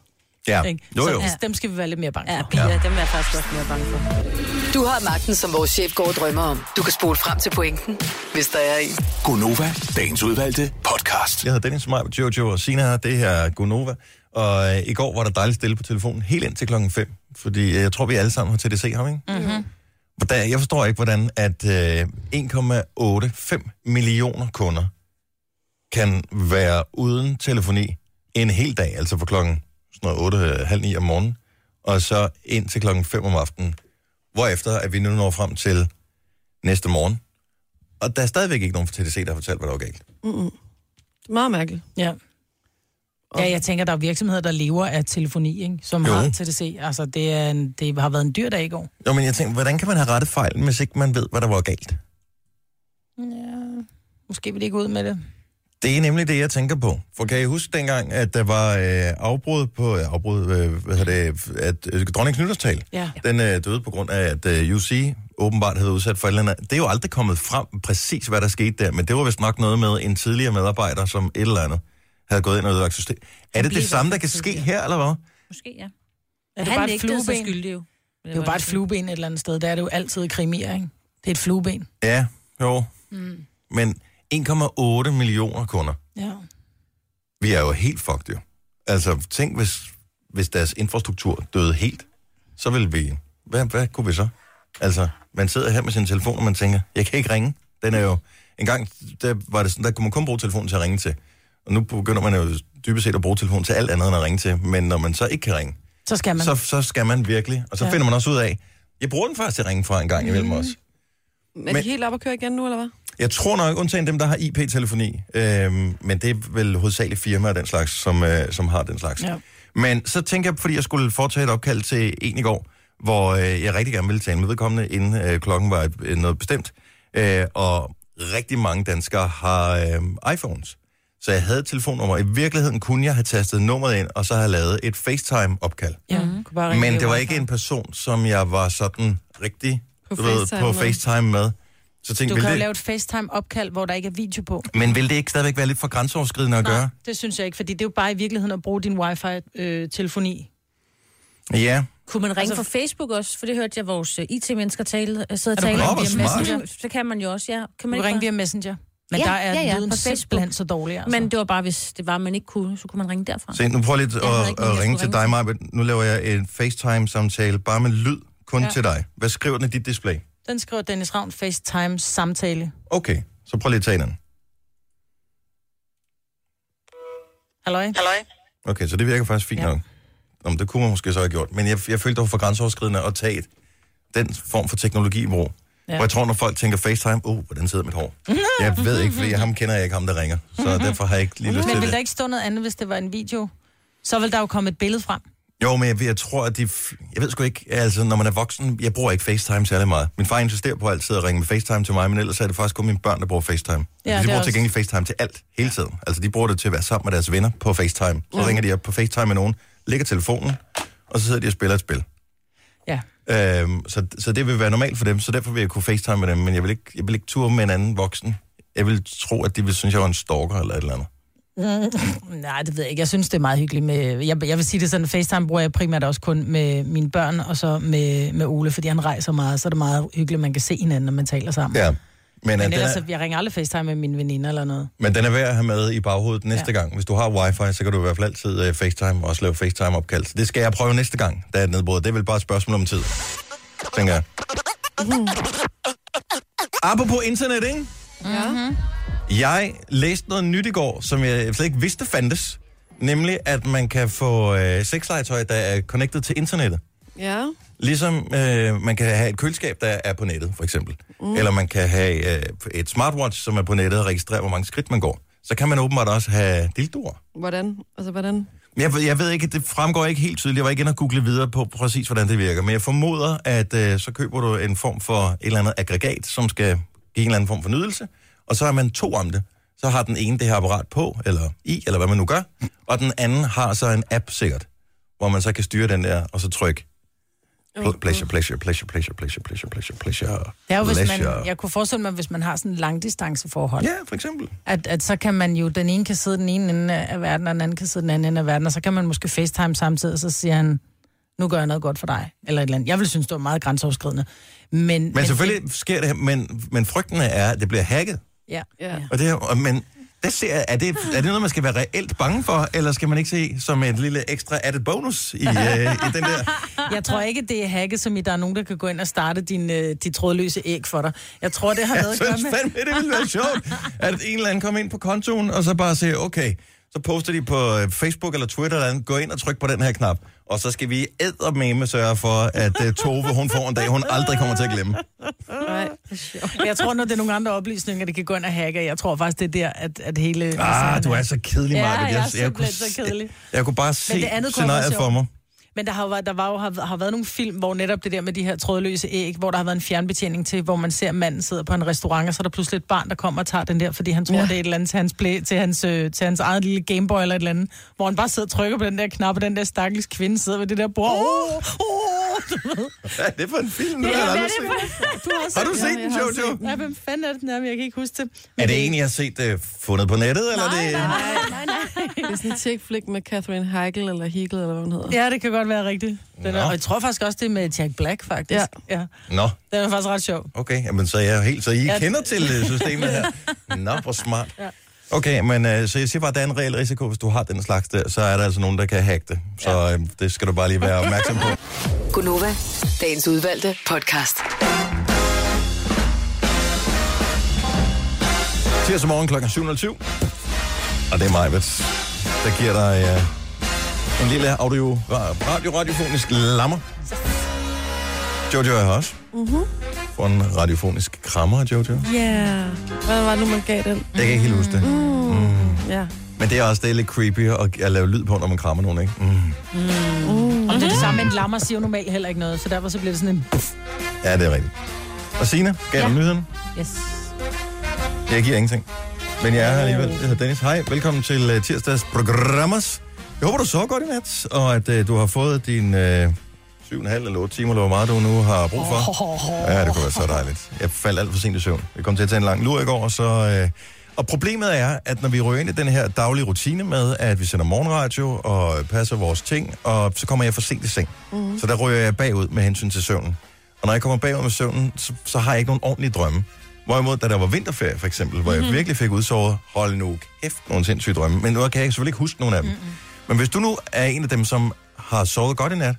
[SPEAKER 1] Ja,
[SPEAKER 2] Ikke?
[SPEAKER 1] jo
[SPEAKER 2] så
[SPEAKER 1] jo.
[SPEAKER 2] dem skal vi være lidt mere bange
[SPEAKER 3] Ja,
[SPEAKER 2] for.
[SPEAKER 3] piger, dem er jeg faktisk også mere bange for.
[SPEAKER 8] Du har magten, som vores chef går og drømmer om. Du kan spole frem til pointen, hvis der er en.
[SPEAKER 9] Gonova, dagens udvalgte podcast.
[SPEAKER 1] Jeg hedder Dennis Maj, Jojo og Sina her. Det her er Gunova. Og øh, i går var der dejligt stille på telefonen, helt ind til klokken 5. Fordi øh, jeg tror, vi alle sammen har TDC ham, ikke? Mm-hmm. Hvordan, jeg forstår ikke, hvordan at øh, 1,85 millioner kunder kan være uden telefoni en hel dag, altså fra klokken sådan noget 8, øh, halv 9 om morgenen, og så ind til klokken 5 om aftenen, hvorefter at vi nu når frem til næste morgen. Og der er stadigvæk ikke nogen fra TDC, der har fortalt, hvad der var galt.
[SPEAKER 4] Det er meget mærkeligt.
[SPEAKER 2] Ja. Ja, jeg tænker, der er virksomheder, der lever af telefoni, ikke? som
[SPEAKER 1] Jo.
[SPEAKER 2] jo. har TDC. Altså, det, er en, det har været en dyr dag i går.
[SPEAKER 1] Jo, men jeg tænkte, hvordan kan man have rettet fejlen, hvis ikke man ved, hvad der var galt?
[SPEAKER 2] Ja, måske vil de ikke ud med det.
[SPEAKER 1] Det er nemlig det, jeg tænker på. For kan I huske dengang, at der var øh, afbrud på, øh, afbrud, øh, hvad hedder det, at øh, dronningens nytårstal,
[SPEAKER 2] Ja.
[SPEAKER 1] den øh, døde på grund af, at øh, UC åbenbart havde udsat for et eller andet. Det er jo aldrig kommet frem præcis, hvad der skete der, men det var vist nok noget med en tidligere medarbejder, som et eller andet havde gået ind og ødelagt system. Er det
[SPEAKER 3] bliver
[SPEAKER 1] det samme,
[SPEAKER 3] i hvert
[SPEAKER 1] der kan
[SPEAKER 3] fald
[SPEAKER 1] ske
[SPEAKER 3] tidligere.
[SPEAKER 1] her, eller hvad?
[SPEAKER 3] Måske, ja.
[SPEAKER 2] Er det bare et flueben? Det
[SPEAKER 3] jo.
[SPEAKER 2] er jo bare et flueben et eller andet sted. Der er det jo altid i krimier, ikke? Det er et flueben.
[SPEAKER 1] Ja, jo. Mm. Men 1,8 millioner kunder.
[SPEAKER 2] Ja.
[SPEAKER 1] vi er jo helt fucked jo. Altså, tænk hvis, hvis deres infrastruktur døde helt, så ville vi... Hvad, hvad kunne vi så? Altså, man sidder her med sin telefon, og man tænker, jeg kan ikke ringe. Den er jo... En gang der var det sådan, der kunne man kun bruge telefonen til at ringe til. Og nu begynder man jo dybest set at bruge telefonen til alt andet end at ringe til. Men når man så ikke kan ringe,
[SPEAKER 2] Så skal man.
[SPEAKER 1] så, så skal man virkelig. Og så ja.
[SPEAKER 2] Ja.
[SPEAKER 1] finder man også ud af, jeg bruger den faktisk til at ringe fra en gang imellem også.
[SPEAKER 4] Men er
[SPEAKER 1] Men-
[SPEAKER 4] de helt op at køre igen nu, eller hvad?
[SPEAKER 1] Jeg tror nok, undtagen dem, der har IP-telefoni, øhm, men det er vel hovedsageligt firmaer og den slags, som, øh, som har den slags.
[SPEAKER 2] Ja.
[SPEAKER 1] Men så tænker jeg, fordi jeg skulle foretage et opkald til en i går, hvor øh, jeg rigtig gerne ville tale med vedkommende, inden øh, klokken var øh, noget bestemt. Øh, og rigtig mange danskere har øh, iPhones. Så jeg havde et telefonnummer. I virkeligheden kunne jeg have tastet nummeret ind, og så have lavet et FaceTime-opkald.
[SPEAKER 2] Ja, mm-hmm. kunne bare ringe
[SPEAKER 1] Men
[SPEAKER 2] via
[SPEAKER 1] det var
[SPEAKER 2] wifi.
[SPEAKER 1] ikke en person, som jeg var sådan rigtig
[SPEAKER 4] På
[SPEAKER 1] du ved,
[SPEAKER 4] FaceTime
[SPEAKER 1] på
[SPEAKER 4] med.
[SPEAKER 1] FaceTime med. Så tænkte,
[SPEAKER 2] Du
[SPEAKER 1] vil
[SPEAKER 2] kan jo
[SPEAKER 1] det,
[SPEAKER 2] lave et FaceTime-opkald, hvor der ikke er video på.
[SPEAKER 1] men vil det ikke stadigvæk være lidt for grænseoverskridende at gøre?
[SPEAKER 2] Det synes jeg ikke, fordi det er jo bare i virkeligheden at bruge din wifi-telefoni.
[SPEAKER 1] Ja.
[SPEAKER 3] Kunne man ringe
[SPEAKER 2] Altså-
[SPEAKER 3] altså, fra Facebook også? For det hørte jeg vores øh, IT-mennesker tale, øh, sidde og
[SPEAKER 2] du
[SPEAKER 3] tale
[SPEAKER 1] kunne
[SPEAKER 3] om
[SPEAKER 1] ringe
[SPEAKER 3] via
[SPEAKER 1] via
[SPEAKER 3] Messenger. Så kan man jo også, ja. Kan
[SPEAKER 2] Du
[SPEAKER 3] man
[SPEAKER 2] kan
[SPEAKER 3] ikke
[SPEAKER 2] ringe
[SPEAKER 3] bare...
[SPEAKER 2] via Messenger. Men
[SPEAKER 3] Ja,
[SPEAKER 2] der er
[SPEAKER 3] ja, ja,
[SPEAKER 2] lyden
[SPEAKER 3] på Facebook.
[SPEAKER 2] simpelthen så dårlig, altså.
[SPEAKER 3] Men det var bare, hvis det var, man ikke kunne, så kunne man ringe derfra.
[SPEAKER 1] Se, nu prøv lige
[SPEAKER 3] Jeg havde
[SPEAKER 1] at,
[SPEAKER 3] ikke nogen,
[SPEAKER 1] at
[SPEAKER 3] jeg
[SPEAKER 1] ringe
[SPEAKER 3] skulle
[SPEAKER 1] til
[SPEAKER 3] ringe
[SPEAKER 1] dig, Maja. Nu laver jeg en FaceTime-samtale, bare med lyd, kun ja. til dig. Hvad skriver den i dit display?
[SPEAKER 2] Den skriver Dennis Ravn FaceTime-samtale.
[SPEAKER 1] Okay, så prøv lige at tage den.
[SPEAKER 2] Halløj?
[SPEAKER 10] Halløj.
[SPEAKER 1] Okay, så det virker faktisk fint ja.
[SPEAKER 2] Ja.
[SPEAKER 1] nok. Om det kunne man måske så have gjort. Men jeg, jeg følte, det var for grænseoverskridende at tage et, den form for teknologi i brug. Ja.
[SPEAKER 2] Ja.
[SPEAKER 1] Og jeg tror, når folk tænker FaceTime, åh, oh, hvordan sidder mit hår? jeg ved ikke, fordi ham kender jeg ikke, ham der ringer. Så derfor har jeg ikke lige lyst
[SPEAKER 2] Men
[SPEAKER 1] til
[SPEAKER 2] ville der
[SPEAKER 1] det.
[SPEAKER 2] ikke stå noget andet, hvis det var en video? Så ville der jo komme et billede frem.
[SPEAKER 1] Jo, men jeg, jeg tror, at de... f- Jeg ved sgu ikke, altså når man er voksen, jeg bruger ikke FaceTime særlig meget. Min far insisterer på altid at ringe med FaceTime til mig, men ellers er det faktisk kun mine børn, der bruger FaceTime.
[SPEAKER 2] Ja,
[SPEAKER 1] Ja, de
[SPEAKER 2] det er
[SPEAKER 1] bruger
[SPEAKER 2] også-
[SPEAKER 1] til gengæld FaceTime til alt, hele tiden. Altså de bruger det til at være sammen med deres venner på FaceTime. Så ringer de op på FaceTime med nogen, lægger telefonen, og så sidder de og spiller et spil.
[SPEAKER 2] Ja.
[SPEAKER 1] Øhm, så, så det vil være normalt for dem, så derfor vil jeg kunne facetime med dem, men jeg vil ikke, jeg vil ikke ture med en anden voksen. Jeg vil tro, at de vil synes, jeg var en stalker eller et eller andet.
[SPEAKER 2] Nej, det ved jeg ikke. Jeg synes, det er meget hyggeligt med... Jeg, jeg vil sige det sådan, FaceTime bruger jeg primært også kun med mine børn, og så med, med Ole, fordi han rejser meget, så er det meget hyggeligt, at man kan se hinanden, når man taler sammen.
[SPEAKER 1] Ja. Men,
[SPEAKER 2] Men
[SPEAKER 1] men, den
[SPEAKER 2] ellers,
[SPEAKER 1] er,
[SPEAKER 2] så, jeg ringer aldrig FaceTime med mine veninder eller noget.
[SPEAKER 1] men den er værd at have med i baghovedet næste ja.
[SPEAKER 2] Ja.
[SPEAKER 1] gang. Hvis du har wifi, så kan du i hvert fald altid uh, facetime og også lave facetime-opkald. Så det skal jeg prøve næste gang, der er et nedbrud. Det er vel bare et spørgsmål om tid, tænker jeg.
[SPEAKER 9] Mm.
[SPEAKER 1] Apropos internet, ikke?
[SPEAKER 4] Ja.
[SPEAKER 1] Jeg læste noget nyt i går, som jeg slet ikke vidste fandtes. Nemlig, at man kan få øh, sexlegetøj, der er connected til internettet.
[SPEAKER 4] Ja.
[SPEAKER 1] Ligesom øh, man kan have et køleskab, der er på nettet, for eksempel. Mm. Eller man kan have øh, et smartwatch, som er på nettet og registrerer, hvor mange skridt man går. Så kan man åbenbart også have dildoer.
[SPEAKER 4] Hvordan? Altså, hvordan?
[SPEAKER 1] Men Jeg, ved- jeg ved ikke, det fremgår ikke helt tydeligt. Jeg var ikke inde og google videre på præcis, hvordan det virker. Men jeg formoder, at øh, så køber du en form for et eller andet aggregat, som skal give en eller anden form for nydelse. Og så er man to om det. Så har den ene det her apparat på, eller i, eller hvad man nu gør. Og den anden har så en app sikkert, hvor man så kan styre den der, og så trykke pl- pleasure, pleasure, pleasure, pleasure, pleasure, pleasure, pleasure, pleasure.
[SPEAKER 2] Det er jo, hvis man,
[SPEAKER 1] pleasure.
[SPEAKER 2] jeg kunne forestille mig, hvis man har sådan en langdistanceforhold,
[SPEAKER 1] Ja, for eksempel.
[SPEAKER 2] at, at så kan man jo, den ene kan sidde den ene ende af verden, og den anden kan sidde den anden ende af verden, og så kan man måske facetime samtidig, og så siger han, nu gør jeg noget godt for dig, eller et eller andet. Jeg vil synes, det var meget grænseoverskridende. Men,
[SPEAKER 1] Men selvfølgelig sker det, men, men frygten er, at det bliver hacket.
[SPEAKER 2] Ja.
[SPEAKER 4] Ja.
[SPEAKER 1] Og det, her- og- men der ser jeg, er det, er det noget, man skal være reelt bange for, eller skal man ikke se som et lille ekstra added bonus i, øh, i den der?
[SPEAKER 2] Jeg tror ikke, det er hacket, som i, der er nogen, der kan gå ind og starte din, øh, de trådløse æg for dig. Jeg tror, det har
[SPEAKER 1] Jeg
[SPEAKER 2] noget at gøre
[SPEAKER 1] synes
[SPEAKER 2] med...
[SPEAKER 1] fandme, det ville være sjovt, at en eller anden kommer ind på kontoen, og så bare siger, okay, så poster de på øh, Facebook eller Twitter eller andet, gå ind og tryk på den her knap, og så skal vi eddermame sørge for, at øh, Tove, hun får en dag, hun aldrig kommer til at glemme.
[SPEAKER 4] Nej.
[SPEAKER 2] Jeg tror, når det er nogle andre oplysninger, det kan gå ind og hacke. Jeg tror faktisk, det er der, at, at hele...
[SPEAKER 1] Ah, du er så kedelig,
[SPEAKER 2] Ja,
[SPEAKER 1] Maja.
[SPEAKER 2] jeg er simpelthen så kedelig.
[SPEAKER 1] Jeg, jeg kunne bare se
[SPEAKER 2] det andet kunne være
[SPEAKER 1] scenariet
[SPEAKER 2] sjovt.
[SPEAKER 1] for mig.
[SPEAKER 2] Men der har jo været, der var jo, har, har været nogle film, hvor netop det der med de her trådløse æg, hvor der har været en fjernbetjening til, hvor man ser at manden sidder på en restaurant, og så er der pludselig et barn, der kommer og tager den der, fordi han tror, ja. det er et eller andet til hans, play, til, hans, øh, til hans eget lille Gameboy eller et eller andet, hvor han bare sidder og trykker på den der knap, og den der stakkels kvinde sidder ved det der bord. Åh, åh, du ved.
[SPEAKER 1] Hvad er det for en film? Det, det, det, det, det,
[SPEAKER 2] Du har,
[SPEAKER 1] Har du set den,
[SPEAKER 4] har
[SPEAKER 1] Jojo?
[SPEAKER 2] Nej, hvem fanden er det? Nej, men jeg kan ikke huske det.
[SPEAKER 1] Er det en, jeg har set uh, fundet på nettet? Eller det...
[SPEAKER 2] nej, nej.
[SPEAKER 4] Det er sådan en chick-flick med Catherine Heigl, eller Hegel, eller hvad hun hedder.
[SPEAKER 2] Ja, det kan godt være rigtigt. Den er,
[SPEAKER 1] Nå.
[SPEAKER 2] og jeg tror faktisk også, det er med Jack Black, faktisk. Ja. ja.
[SPEAKER 1] Nå,
[SPEAKER 2] Den er faktisk ret sjov.
[SPEAKER 1] okay. Jamen, så er jeg helt, så I
[SPEAKER 2] Ja.
[SPEAKER 1] kender til øh, systemet her. Nå, hvor smart. Okay, men øh, så jeg siger bare, at der er en reel risiko, hvis du har den slags der, så er der altså nogen, der kan hacke det. Så øh, det skal du bare lige være opmærksom på.
[SPEAKER 8] Gunova, dagens udvalgte podcast.
[SPEAKER 1] Tirsdag morgen kl. 7.07. Og det er mig, der giver dig øh, en lille audio,
[SPEAKER 2] Mm-hmm.
[SPEAKER 4] Mm-hmm.
[SPEAKER 1] ra- radio, radiofonisk lammer. Jojo er her også. for en radiofonisk krammer, Jojo. Mm.
[SPEAKER 4] Yeah. Hvad var det nu, man gav den?
[SPEAKER 1] Jeg kan ikke helt huske det. Mm.
[SPEAKER 4] Ja.
[SPEAKER 1] Men det er også det er lidt creepy at, at lave lyd på, når man krammer nogen, ikke? Mm.
[SPEAKER 2] Og det er det samme, en lammer siger jo normalt heller ikke noget, så derfor så bliver det sådan en...
[SPEAKER 1] Ja, det er rigtigt. Og Sina, gav ja.
[SPEAKER 3] Ja.
[SPEAKER 1] nyheden?
[SPEAKER 3] Yes.
[SPEAKER 1] Jeg giver ingenting. Men jeg er her alligevel. Jeg hedder Dennis. Hej, velkommen til uh, tirsdags programmers. Jeg håber, du sover godt i nat, og at uh, du har fået din uh, 7,5 eller 8 timer, eller hvor meget du nu har brug for. Ja, det kunne være så dejligt. Jeg faldt alt for sent i søvn. Jeg kom til at tage en lang lur i går, og så... Øh, og problemet er, at når vi rører ind i den her daglige rutine med, at vi sender morgenradio og passer vores ting, og så kommer jeg for sent i seng.
[SPEAKER 11] Mhm.
[SPEAKER 1] Mm. Så der rører jeg bagud med hensyn til søvnen. Og når jeg kommer bagud med søvnen, så, så har jeg ikke nogen ordentlige drømme. Hvorimod, da der var vinterferie for eksempel, hvor mm-hmm. jeg virkelig fik udsovet, hold nu kæft, nogle sindssyge drømme. Men nu kan jeg selvfølgelig ikke huske nogen af dem. Mm-hmm. Men hvis du nu er en af dem, som har sovet godt i nat,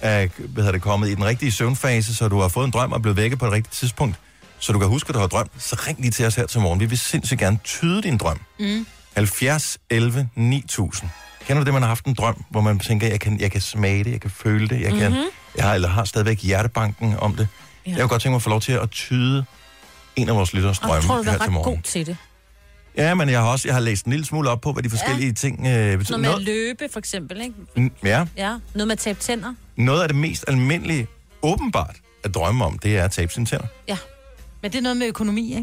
[SPEAKER 1] er hvad hedder det, kommet i den rigtige søvnfase, så du har fået en drøm og blevet vækket på det rigtige tidspunkt, så du kan huske, at du har drømt, så ring lige til os her til morgen. Vi vil sindssygt gerne tyde din drøm. Mm. 70 11 9000. Kender du det, man har haft en drøm, hvor man tænker, jeg kan, jeg kan smage det, jeg kan føle det, jeg, kan,
[SPEAKER 3] Mhm.
[SPEAKER 1] jeg har, eller har stadigvæk hjertebanken om det. Ja. Jeg kunne godt tænke mig at få lov til at tyde en af vores lytteres
[SPEAKER 3] Og jeg
[SPEAKER 1] drømme
[SPEAKER 3] tror, du
[SPEAKER 1] her
[SPEAKER 3] var
[SPEAKER 1] til
[SPEAKER 3] ret
[SPEAKER 1] morgen.
[SPEAKER 3] god til det.
[SPEAKER 1] Ja, men jeg har også jeg har læst en lille smule op på, hvad de forskellige ja. ting øh, betyder.
[SPEAKER 3] Noget med at
[SPEAKER 1] Noget-
[SPEAKER 3] løbe, for eksempel, ikke?
[SPEAKER 1] N- ja,
[SPEAKER 3] Ja, noget med at tabe tænder.
[SPEAKER 1] noget af det mest almindelige, åbenbart, at drømme om, det er at tabe sine tænder.
[SPEAKER 3] Ja.
[SPEAKER 2] Men det er noget med økonomi,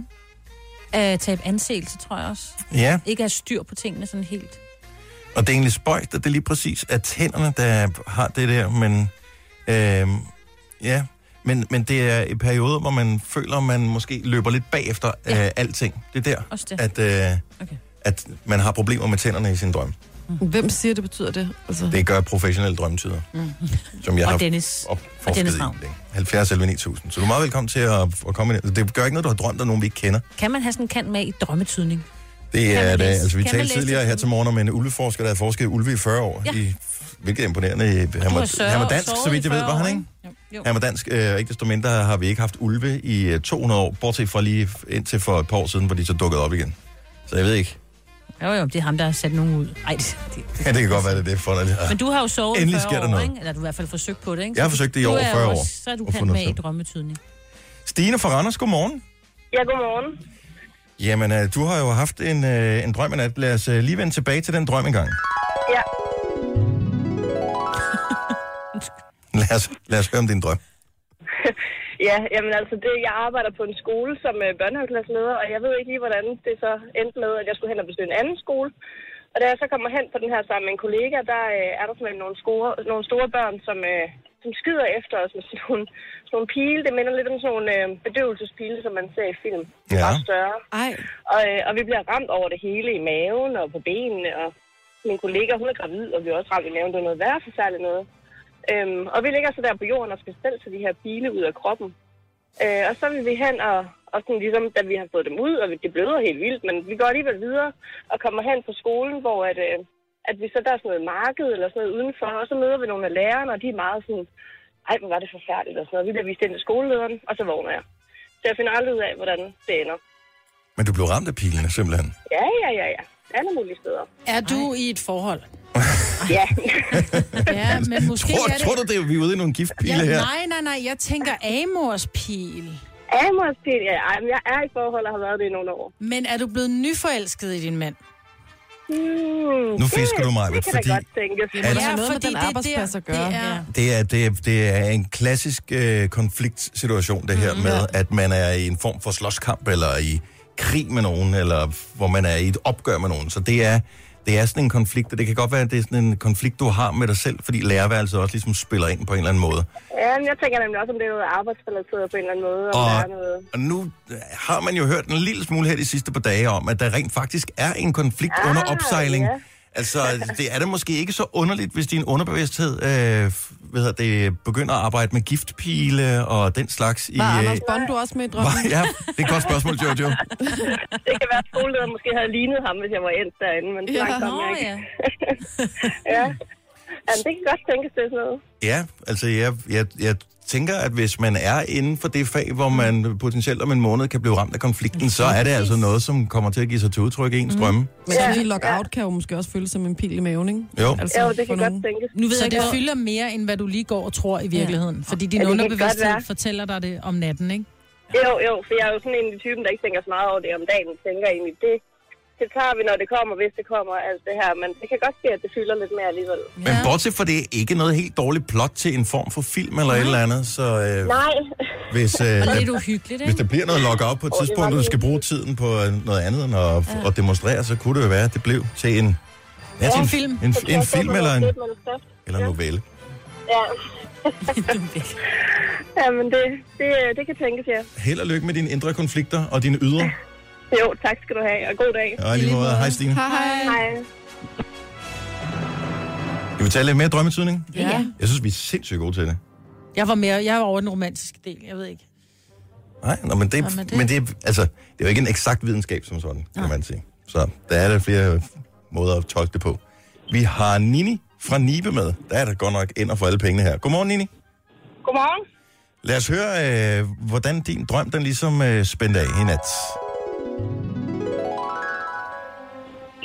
[SPEAKER 2] ikke?
[SPEAKER 3] Øh, tabe anseelse, tror jeg også.
[SPEAKER 1] Ja,
[SPEAKER 3] Ikke have styr på tingene sådan helt.
[SPEAKER 1] og det er egentlig spøjst, at det lige præcis er tænderne, der har det der, men... Øh, ja, men, men det er i perioder, hvor man føler, man måske løber lidt bagefter ja. øh, alting. Det er der,
[SPEAKER 3] Også det.
[SPEAKER 1] at, øh,
[SPEAKER 3] Okay.
[SPEAKER 1] at man har problemer med tænderne i sin drøm.
[SPEAKER 4] Hvem siger, det betyder det? Altså,
[SPEAKER 1] Det gør professionelle drømmetyder, mm. som jeg
[SPEAKER 3] Og
[SPEAKER 1] har
[SPEAKER 3] Dennis.
[SPEAKER 1] opforsket
[SPEAKER 3] Og Dennis
[SPEAKER 1] i
[SPEAKER 3] Ravn.
[SPEAKER 1] længe. 70 11 9000. Så du er meget velkommen til at, at komme ind. Det gør ikke noget, du har drømt af nogen, vi ikke kender.
[SPEAKER 3] Kan man have sådan en kant med i drømmetydning?
[SPEAKER 1] Det
[SPEAKER 3] Kan
[SPEAKER 1] er
[SPEAKER 3] man
[SPEAKER 1] det.
[SPEAKER 3] læse-
[SPEAKER 1] Altså, vi
[SPEAKER 3] kan man
[SPEAKER 1] talte
[SPEAKER 3] læse
[SPEAKER 1] tidligere
[SPEAKER 3] det?
[SPEAKER 1] her til morgen om en ulveforsker, der havde forsket i ulve i 40 år.
[SPEAKER 3] Ja.
[SPEAKER 1] I, hvilket er imponerende. Han var,
[SPEAKER 3] sørget-
[SPEAKER 1] han var dansk,
[SPEAKER 3] sovet
[SPEAKER 1] så vidt
[SPEAKER 3] i
[SPEAKER 1] jeg ved,
[SPEAKER 3] 40
[SPEAKER 1] var han
[SPEAKER 3] år,
[SPEAKER 1] ikke?
[SPEAKER 3] Jo.
[SPEAKER 1] Han var dansk, øh, ikke desto mindre har vi ikke haft ulve i øh, 200 år, bortset fra lige f- indtil for et par år siden, hvor de så dukkede op igen. Så jeg ved ikke.
[SPEAKER 3] Jo, jo, det er ham, der har sat nogen ud. Ej, det, det, det.
[SPEAKER 1] Ja, det kan godt være, det er det for dig.
[SPEAKER 3] Men du har jo sovet i
[SPEAKER 1] Endelig
[SPEAKER 3] 40
[SPEAKER 1] sker der
[SPEAKER 3] år,
[SPEAKER 1] noget.
[SPEAKER 3] Ikke? Eller du har i hvert fald forsøgt på det, ikke?
[SPEAKER 1] Jeg har forsøgt det i
[SPEAKER 3] Du
[SPEAKER 1] over
[SPEAKER 3] er
[SPEAKER 1] 40
[SPEAKER 3] jo
[SPEAKER 1] år,
[SPEAKER 3] også- Så er du
[SPEAKER 1] at få
[SPEAKER 3] kan
[SPEAKER 1] noget
[SPEAKER 3] med i
[SPEAKER 1] søvn.
[SPEAKER 3] drømmetydning.
[SPEAKER 1] Stine fra Randers, godmorgen.
[SPEAKER 12] Ja, godmorgen.
[SPEAKER 1] Jamen, øh, du har jo haft en, øh, en drøm i nat. Lad os øh, lige vende tilbage til den drøm engang.
[SPEAKER 12] Ja,
[SPEAKER 1] Lad os, lad os høre om din drøm.
[SPEAKER 12] ja jamen altså, det, jeg arbejder på en skole som øh, børnehaveklasseleder, og jeg ved ikke lige, hvordan det så endte med, at jeg skulle hen og besøge en anden skole. Og da jeg så kommer hen på den her sammen med en kollega, der øh, er der simpelthen nogle, score, nogle store børn, som, øh, som skyder efter os med sådan nogle, sådan nogle pile. Det minder lidt om sådan nogle øh, bedøvelsespile, som man ser i film.
[SPEAKER 1] Ja.
[SPEAKER 12] Ja. Bare større.
[SPEAKER 4] ej,
[SPEAKER 12] Og, øh, og vi bliver ramt over det hele i maven og på benene, og min kollega, hun er gravid, og vi er også ramt i maven. Det er noget værre forfærdeligt noget. Øhm, og vi ligger så der på jorden og skal selv til de her bile ud af kroppen. Øh, og så vil vi hen og, og sådan ligesom, da vi har fået dem ud, og det bløder helt vildt, men vi går alligevel videre og kommer hen på skolen, hvor at, øh, at vi så der er sådan noget marked eller sådan noget udenfor, og så møder vi nogle af lærerne, og de er meget sådan, ej, hvor var det forfærdeligt og sådan noget. Vi bliver vist ind til skolelederen, og så vågner jeg. Så jeg finder aldrig ud af, hvordan det ender.
[SPEAKER 1] Men du blev ramt af pilene, simpelthen.
[SPEAKER 12] Ja, ja, ja, ja. Alle mulige steder.
[SPEAKER 2] Er du i et forhold?
[SPEAKER 12] Ja.
[SPEAKER 2] Ja, men måske
[SPEAKER 1] Tror,
[SPEAKER 2] er det...
[SPEAKER 1] tror du, det er, vi er ude i nogle giftpile
[SPEAKER 2] ja,
[SPEAKER 1] her?
[SPEAKER 2] nej, nej, nej, jeg tænker Amors pil.
[SPEAKER 12] Amors pil, ja, ej, men jeg er i forhold og har været det i nogle år.
[SPEAKER 2] Men er du blevet nyforelsket i din mand?
[SPEAKER 12] Hmm,
[SPEAKER 1] Nu fisker
[SPEAKER 12] det-
[SPEAKER 1] du, Maja,
[SPEAKER 12] det kan
[SPEAKER 1] fordi-
[SPEAKER 12] da godt tænkes.
[SPEAKER 1] At-
[SPEAKER 4] noget med den arbejdsplads at gøre.
[SPEAKER 2] Det er,
[SPEAKER 1] Det er, det, er, det er en klassisk øh, konfliktsituation, det
[SPEAKER 2] Mhm.
[SPEAKER 1] her mm, med, at man er i en form for slåskamp, eller i krig med nogen, eller hvor man er i et opgør med nogen. Så det er, det er sådan en konflikt, og det kan godt være, at det er sådan en konflikt, du har med dig selv, fordi lærerværelset også ligesom spiller ind på en eller anden måde.
[SPEAKER 12] Ja, men jeg tænker nemlig også, om det er noget arbejdsrelateret på en eller anden måde. Og... Der
[SPEAKER 1] Og,
[SPEAKER 12] er noget.
[SPEAKER 1] og nu øh, har man jo hørt en lille smule her de sidste par dage om, at der rent faktisk er en konflikt ah,
[SPEAKER 12] Ah,
[SPEAKER 1] under opsejling.
[SPEAKER 12] ja.
[SPEAKER 1] Altså, det er det måske ikke så underligt, hvis din underbevidsthed øh, f- hvad hedder det, begynder at arbejde med giftpile og den slags. I,
[SPEAKER 4] var
[SPEAKER 1] øh,
[SPEAKER 4] Anders Bondo også med i drømmen?
[SPEAKER 1] var- ja, det er et godt spørgsmål, Jojo.
[SPEAKER 12] Det kan være, at skolelederen måske havde lignet ham, hvis jeg var endt derinde, men det
[SPEAKER 4] Ja.
[SPEAKER 12] ja. langt kom
[SPEAKER 3] Nå
[SPEAKER 12] jeg ikke.
[SPEAKER 3] ja.
[SPEAKER 12] Ja. Jamen, det kan godt tænkes, det er sådan noget.
[SPEAKER 1] Ja, altså jeg, jeg, jeg tænker, at hvis man er inden for det fag, hvor
[SPEAKER 10] Mm.
[SPEAKER 1] man potentielt om en måned kan blive ramt af konflikten, så er det altså noget, som kommer til at give sig til udtryk i
[SPEAKER 10] Mm.
[SPEAKER 1] ens drømme.
[SPEAKER 4] Men sådan en lockout kan jo måske også føles som en pil i maven, ikke?
[SPEAKER 1] Jo.
[SPEAKER 4] Altså,
[SPEAKER 12] Jo, det
[SPEAKER 4] for
[SPEAKER 12] kan godt
[SPEAKER 4] nogen.
[SPEAKER 12] tænkes.
[SPEAKER 2] Nu ved så
[SPEAKER 4] jeg
[SPEAKER 2] jeg, det
[SPEAKER 4] godt-
[SPEAKER 2] fylder mere, end hvad du lige går og tror i virkeligheden. Ja. Fordi din
[SPEAKER 12] Ja,
[SPEAKER 2] ja,
[SPEAKER 12] det kan godt
[SPEAKER 2] underbevidsthed
[SPEAKER 12] være.
[SPEAKER 2] fortæller dig det om natten, ikke?
[SPEAKER 10] Jo, jo, for jeg er jo sådan en af de typen, der ikke tænker så meget over det om dagen. Tænker egentlig, det, det tager vi, når det kommer, hvis det kommer, alt det her. Men det kan godt ske, at det fylder lidt mere alligevel.
[SPEAKER 1] Men bortset fra det, er ikke noget helt dårligt plot til en form for film eller et eller andet, så øh,
[SPEAKER 10] Nej.
[SPEAKER 1] hvis, øh,
[SPEAKER 10] Og lidt
[SPEAKER 1] der-
[SPEAKER 10] uhyggeligt, ikke?
[SPEAKER 1] hvis der bliver noget lock-up på
[SPEAKER 10] Åh,
[SPEAKER 1] et
[SPEAKER 10] det er
[SPEAKER 1] tidspunkt, og du
[SPEAKER 10] meget
[SPEAKER 1] skal bruge tiden på øh, noget andet end at, ja. at demonstrere, så kunne det jo være, at det blev til en, ja, til en, en, en, en film eller en, eller en novelle.
[SPEAKER 10] Ja. ja, men det, det, øh, det kan tænkes, ja.
[SPEAKER 1] Held og lykke med dine indre konflikter og dine ydre.
[SPEAKER 10] Jo, tak skal du have, og god dag.
[SPEAKER 1] Ja, i lige måde. Hej, Stine.
[SPEAKER 10] Hej. Hej.
[SPEAKER 1] Kan vi tale lidt mere drømmetydning?
[SPEAKER 2] Ja.
[SPEAKER 1] Jeg synes, vi er sindssygt gode til det.
[SPEAKER 2] Jeg var mere, jeg var over den romantiske del, jeg ved ikke.
[SPEAKER 1] Nej, nå, men, det,
[SPEAKER 2] Nå, men det-
[SPEAKER 1] men det, er- altså, det er jo ikke en eksakt videnskab som sådan, kan
[SPEAKER 2] Nej.
[SPEAKER 1] man sige. Så der er der flere måder at tolke det på. Vi har Nini fra Nibe med. Der er der godt nok ind og for alle pengene her. Godmorgen, Nini.
[SPEAKER 10] Godmorgen.
[SPEAKER 1] Lad os høre, øh, hvordan din drøm, den ligesom øh, spændte af i nat.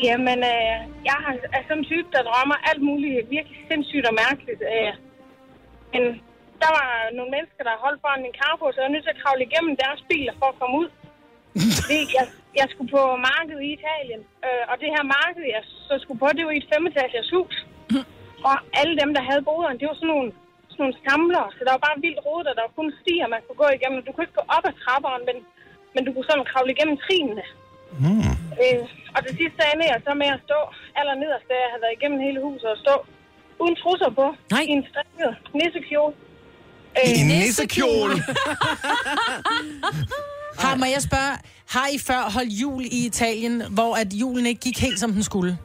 [SPEAKER 10] Jamen, øh, jeg har, er sådan en type, der drømmer alt muligt virkelig sindssygt og mærkeligt. Øh. Men der var nogle mennesker, der holdt foran min carpo, så jeg var nødt til at kravle igennem deres biler for at komme ud. Fordi jeg, jeg skulle på markedet i Italien, øh, og det her marked, jeg så skulle på, det var i et femetagers hus. Og alle dem, der havde boderen, det var sådan nogle, sådan nogle samlere, så der var bare vildt rodet, og der var kun stier, man kunne gå igennem. Du kunne ikke gå op ad trapperne, men, men du kunne sådan kravle igennem trinene.
[SPEAKER 6] Hmm.
[SPEAKER 1] Mm.
[SPEAKER 10] Øh, og det sidste ende jeg så med at stå aller nederst, da jeg havde været igennem hele huset og stå uden trusser på. Nej. I en strikket nissekjole. Øh,
[SPEAKER 1] I en nissekjole?
[SPEAKER 2] Har, må jeg spørge, har I før holdt jul i Italien, hvor at julen ikke gik helt, som den skulle?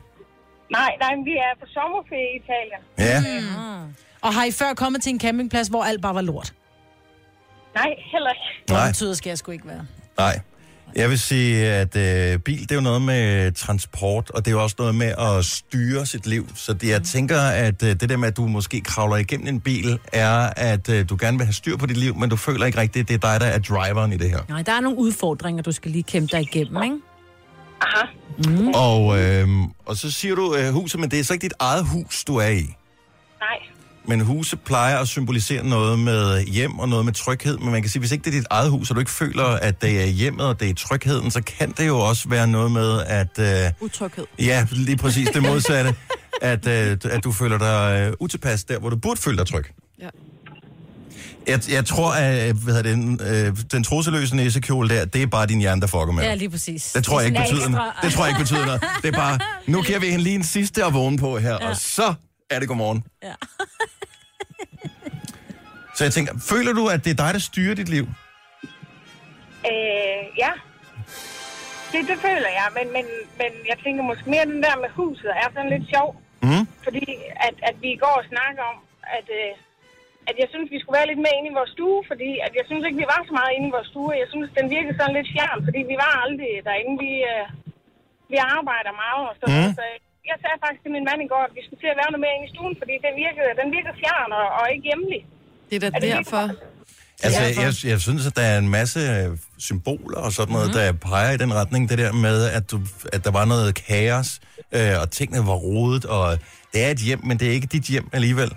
[SPEAKER 10] Nej, nej, men vi er på sommerferie i Italien.
[SPEAKER 1] Ja.
[SPEAKER 2] Mm. Og har I før kommet til en campingplads, hvor alt bare var lort?
[SPEAKER 10] Nej, heller ikke.
[SPEAKER 1] Nej.
[SPEAKER 2] Betyder skal jeg sgu ikke være.
[SPEAKER 1] Nej. Jeg vil sige, at øh, bil, det er jo noget med transport, og det er jo også noget med at styre sit liv. Så det, jeg tænker, at øh, det der med, at du måske kravler igennem en bil, er, at øh, du gerne vil have styr på dit liv, men du føler ikke rigtigt, at det er dig, der er driveren i det her.
[SPEAKER 3] Nej, der er nogle udfordringer, du skal lige kæmpe dig igennem, ikke?
[SPEAKER 1] Mm. Og, øh, og så siger du øh, huset, men det er så ikke dit eget hus, du er i.
[SPEAKER 10] Nej.
[SPEAKER 1] Men huse plejer at symbolisere noget med hjem og noget med tryghed. Men man kan sige, hvis ikke det er dit eget hus, og du ikke føler, at det er hjemmet og det er trygheden, så kan det jo også være noget med, at... Øh,
[SPEAKER 4] Utryghed.
[SPEAKER 1] Ja, lige præcis det modsatte. at, øh, at du føler dig øh, utilpas der, hvor du burde føle dig tryg.
[SPEAKER 4] Ja.
[SPEAKER 1] Jeg, jeg tror, at øh, hvad hedder det, den, øh, den troseløse næsekjole der, det er bare din hjerne, der fucker med.
[SPEAKER 3] Ja,
[SPEAKER 1] dig.
[SPEAKER 3] lige præcis.
[SPEAKER 1] Det tror jeg ikke
[SPEAKER 3] er sådan
[SPEAKER 1] betyder noget. Det tror jeg ikke betyder noget. Det er bare, nu giver vi hende lige en sidste at vågne på her, ja. og så er det godmorgen.
[SPEAKER 3] Ja.
[SPEAKER 1] Så jeg tænker, føler du, at det er dig, der styrer dit liv?
[SPEAKER 10] Øh, ja. Det, det føler jeg, men, men, men jeg tænker måske mere, den der med huset er sådan lidt sjov.
[SPEAKER 6] Hmm.
[SPEAKER 1] Mm.
[SPEAKER 10] Fordi at, at vi i går snakkede om, at, øh, at jeg synes, vi skulle være lidt mere inde i vores stue, fordi at jeg synes ikke, vi var så meget inde i vores stue. Jeg synes, den virkede sådan lidt fjern, fordi vi var aldrig derinde. Vi, øh, vi arbejder meget og sådan
[SPEAKER 13] Mm.
[SPEAKER 10] mm. så jeg sagde faktisk til min mand i går, at vi skulle til at være noget mere inde i stuen, fordi den virkede, den virkede fjern og, og ikke hjemlig.
[SPEAKER 4] Det er da derfor.
[SPEAKER 1] Altså, jeg, jeg synes, at der er en masse øh, symboler og sådan
[SPEAKER 3] Mhm.
[SPEAKER 1] noget, mm. der peger i den retning. Det der med, at, du, at der var noget kaos, øh, og tingene var rodet, og det er et hjem, men det er ikke dit hjem alligevel.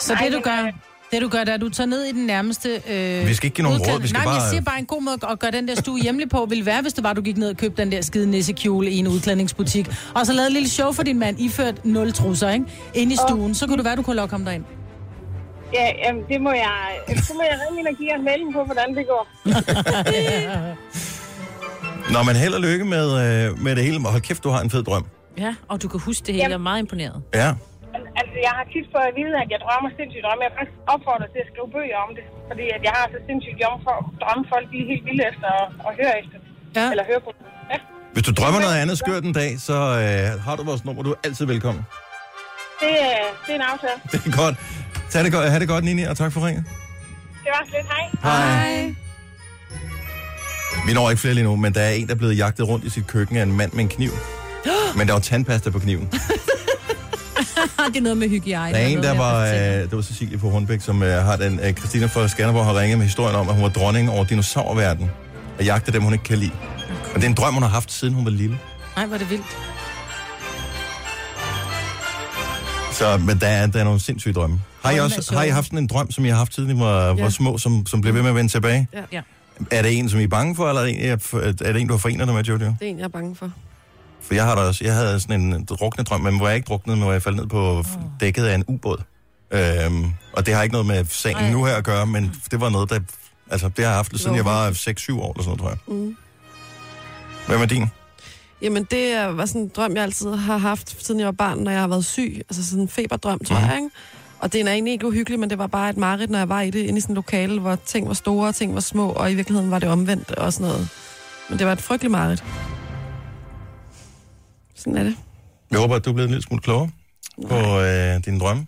[SPEAKER 2] Så det du gør, det du gør, det er, at du tager ned i den nærmeste... Øh,
[SPEAKER 1] Vi skal ikke give nogen
[SPEAKER 2] udklædning.
[SPEAKER 1] råd, vi skal
[SPEAKER 2] Nej, men jeg
[SPEAKER 1] bare-
[SPEAKER 2] siger bare, en god måde at gøre den der stue hjemlig på, ville være, hvis det var, du gik ned og købte den der skide nissekjole i en udklædningsbutik, og så lavede et lille show for din mand, iført nul trusser, ikke? Inde i stuen, så kunne det være, du kunne lokke ham derind.
[SPEAKER 10] Ja, jamen, det må jeg, øh, så må jeg ringe ind og give jer en melding på, hvordan det går.
[SPEAKER 1] Nå, men held og lykke med, øh, med det hele. Og Hold kæft, du har en fed drøm.
[SPEAKER 3] Ja, og du kan huske det hele. Jeg er meget imponeret.
[SPEAKER 1] Ja.
[SPEAKER 10] Altså, jeg har tit fået at vide, at jeg drømmer sindssygt drømme. Jeg er faktisk opfordret til at skrive bøger om det, fordi at jeg har så sindssygt drømme, for, drømme folk lige helt vilde efter og, og høre efter. Ja. Eller høre på. Ja.
[SPEAKER 1] Hvis du drømmer noget andet skørt en dag, så øh, har du vores nummer. Du er altid velkommen.
[SPEAKER 10] Det, øh, det er en aftale.
[SPEAKER 1] Det er godt. Tag det godt. Ha' det godt, Nini, og tak for ringet.
[SPEAKER 10] Det var så lidt. Hej.
[SPEAKER 1] Hej. Vi når ikke flere lige nu, men der er en, der er blevet jagtet rundt i sit køkken af en mand med en kniv. Men der var tandpasta på kniven.
[SPEAKER 3] det er noget med hygiejne.
[SPEAKER 1] Der er en,
[SPEAKER 3] og
[SPEAKER 1] der
[SPEAKER 3] noget
[SPEAKER 1] var,
[SPEAKER 3] med-
[SPEAKER 1] øh, det var Cecilie på Hornbæk, som øh, har den, øh, Christina fra Skanderborg har ringet med historien om, at hun var dronning over dinosaurverdenen, og jagtede dem, hun ikke kan lide. Og det er en drøm, hun har haft, siden hun var lille.
[SPEAKER 2] Nej, hvor er det vildt.
[SPEAKER 1] Så, men der er, der er nogle sindssyge drømme. Har I,
[SPEAKER 2] Drømmen er
[SPEAKER 1] også,
[SPEAKER 2] sjov.
[SPEAKER 1] har I haft sådan en drøm, som I har haft siden I var, ja. var små, som, som blev ved med at vende tilbage?
[SPEAKER 4] Ja.
[SPEAKER 3] ja.
[SPEAKER 1] Er det en, som I er bange for, eller er det en, jeg- er det en du har forenet dig med, Jojo?
[SPEAKER 4] Det er en, jeg er bange for.
[SPEAKER 1] For jeg har da også, jeg havde sådan en drukne drøm, men hvor jeg ikke druknede, men hvor jeg faldt ned på f- dækket af en ubåd. Øhm, og det har ikke noget med sagen
[SPEAKER 4] Ej.
[SPEAKER 1] nu her at gøre, men det var noget, der... Altså, det har jeg haft, siden jeg var 6-7 år eller sådan noget, tror jeg.
[SPEAKER 4] Mm.
[SPEAKER 1] Hvem er din?
[SPEAKER 4] Jamen, det er- var sådan en drøm, jeg altid har haft, siden jeg var barn, når jeg har været syg. Altså sådan en feberdrøm, tror jeg, ikke? Og det er egentlig ikke uhyggelig, men det var bare et mareridt, når jeg var i det, inde i sådan et lokale, hvor ting var store og ting var små, og i virkeligheden var det omvendt og sådan noget. Men det var et frygteligt mareridt. Sådan er det.
[SPEAKER 1] Jeg håber, at du er blevet en lille smule klogere på øh, din drøm.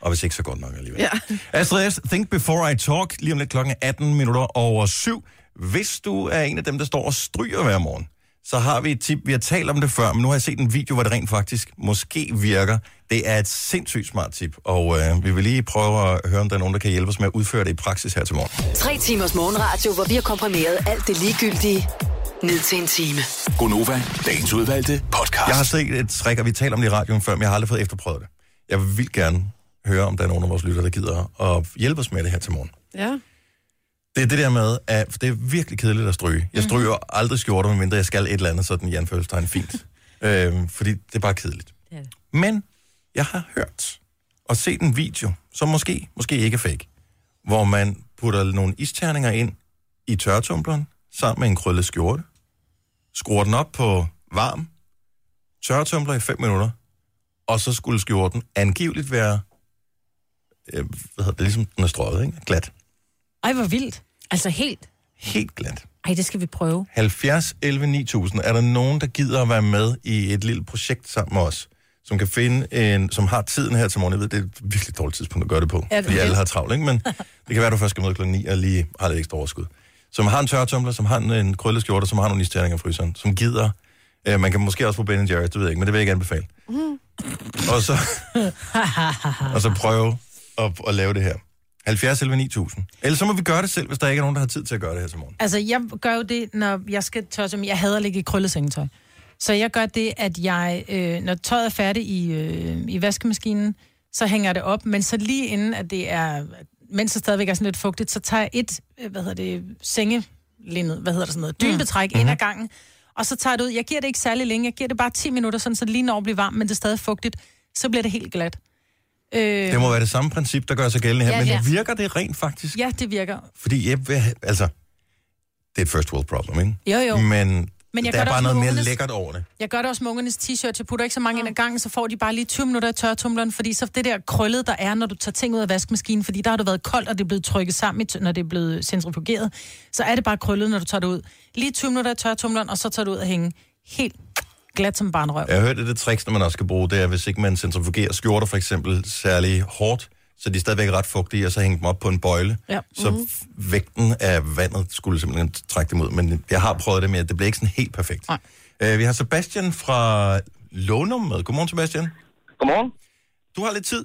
[SPEAKER 1] Og hvis ikke, så godt nok alligevel.
[SPEAKER 4] Ja.
[SPEAKER 1] Astrid S., Think Before I Talk, lige om lidt klokken 18 minutter over syv. Hvis du er en af dem, der står og stryger hver morgen, så har vi et tip. Vi har talt om det før, men nu har jeg set en video, hvor det rent faktisk måske virker. Det er et sindssygt smart tip, og øh, vi vil lige prøve at høre, om der er nogen, der kan hjælpe os med at udføre det i praksis her til morgen.
[SPEAKER 8] Tre timers morgenradio, hvor vi har komprimeret alt det ligegyldige ned til en time.
[SPEAKER 1] Gonova, dagens udvalgte podcast. Jeg har set et trick, og vi taler om det i radioen før, men jeg har aldrig fået efterprøvet det. Jeg vil gerne høre, om der er nogen af vores lyttere, der gider at hjælpe os med det her til morgen.
[SPEAKER 4] Ja.
[SPEAKER 1] Det er det der med, at for det er virkelig kedeligt at stryge. Jeg stryger mm. aldrig skjorter, medmindre jeg skal et eller andet sådan i anførselstegn fint. øhm, fordi det er bare kedeligt.
[SPEAKER 3] Det er det.
[SPEAKER 1] Men jeg har hørt og set en video, som måske, måske ikke er fake, hvor man putter nogle isterninger ind i tørretumbleren sammen med en krøllet skjorte, skruer den op på varm, tørretumbler i 5 minutter, og så skulle skjorten angiveligt være, øh, hvad hedder det, ligesom den er strøget, ikke? Glat.
[SPEAKER 3] Ej, hvor vildt. Altså helt.
[SPEAKER 1] Helt glat.
[SPEAKER 3] Ej, det skal vi prøve.
[SPEAKER 1] 70 11 9000. Er der nogen, der gider at være med i et lille projekt sammen med os? Som kan finde en, som har tiden her til morgen. Jeg ved, det er et virkelig dårligt tidspunkt at gøre det på.
[SPEAKER 7] Ja, det er
[SPEAKER 1] fordi alle
[SPEAKER 7] det.
[SPEAKER 1] har travlt, ikke? Men det kan være, du først skal møde kl. 9 og lige har lidt ekstra overskud. Som har en tørretumbler, som har en, en krøllet skjorte, som har nogle isterninger i fryseren. Som gider. Øh, man kan måske også få Ben Jerry's, det ved jeg ikke, men det vil jeg ikke anbefale.
[SPEAKER 3] Mm.
[SPEAKER 1] Og så, og så prøve at, at lave det her. 70 11 9000. Ellers så må vi gøre det selv, hvis der ikke er nogen, der har tid til at gøre det her til morgen.
[SPEAKER 2] Altså, jeg gør jo det, når jeg skal tørre som Jeg hader at ligge i krøllet sengetøj. Så jeg gør det, at jeg, øh, når tøjet er færdigt i, øh, i vaskemaskinen, så hænger jeg det op, men så lige inden, at det er, mens det stadigvæk er sådan lidt fugtigt, så tager jeg et, øh, hvad hedder det, sengelindet, hvad hedder det sådan noget, dynbetræk mm. ind ad
[SPEAKER 1] Mm-hmm.
[SPEAKER 2] gangen, og så tager jeg det ud. Jeg giver det ikke særlig længe, jeg giver det bare 10 minutter, sådan så det lige når at blive varmt, men det er stadig fugtigt, så bliver det helt glat. Øh,
[SPEAKER 1] Det må være det samme princip, der gør sig gældende her,
[SPEAKER 2] Ja,
[SPEAKER 1] ja, men
[SPEAKER 2] ja.
[SPEAKER 1] ja. virker det rent faktisk?
[SPEAKER 2] Ja, det virker.
[SPEAKER 1] Fordi jeg vil, have- altså, det er et first world problem, ikke?
[SPEAKER 2] Jo, jo.
[SPEAKER 1] Men,
[SPEAKER 2] Men
[SPEAKER 1] men
[SPEAKER 2] jeg
[SPEAKER 1] jeg der er
[SPEAKER 2] gør det
[SPEAKER 1] bare
[SPEAKER 2] også
[SPEAKER 1] noget
[SPEAKER 2] med
[SPEAKER 1] mere
[SPEAKER 2] Rones.
[SPEAKER 1] lækkert over det.
[SPEAKER 2] Jeg gør det også med ungernes t-shirt. Jeg putter ikke så mange ind ad gangen, så får de bare lige 20 minutter i tørretumleren, fordi så det der krøllet, der er, når du tager ting ud af vaskemaskinen, fordi der har det været koldt, og det er blevet trykket sammen, i t- når det er blevet centrifugeret, så er det bare krøllet, når du tager det ud. Lige 20 minutter i tørretumleren, og så tager du ud og hænge helt glat som barnrøv.
[SPEAKER 1] Jeg har hørt, at det tricks, når man også skal bruge, det er, hvis ikke man centrifugerer skjorter for eksempel særlig hårdt, så de er stadigvæk ret fugtige, og så hænge dem op på en bøjle.
[SPEAKER 2] Ja.
[SPEAKER 1] Så
[SPEAKER 2] Mhm.
[SPEAKER 1] f- vægten af vandet skulle simpelthen trække dem ud. Men jeg har prøvet det med, at det blev ikke sådan helt perfekt. Uh, vi har Sebastian fra Lånum med. Godmorgen, Sebastian.
[SPEAKER 13] Godmorgen.
[SPEAKER 1] Du har lidt tid.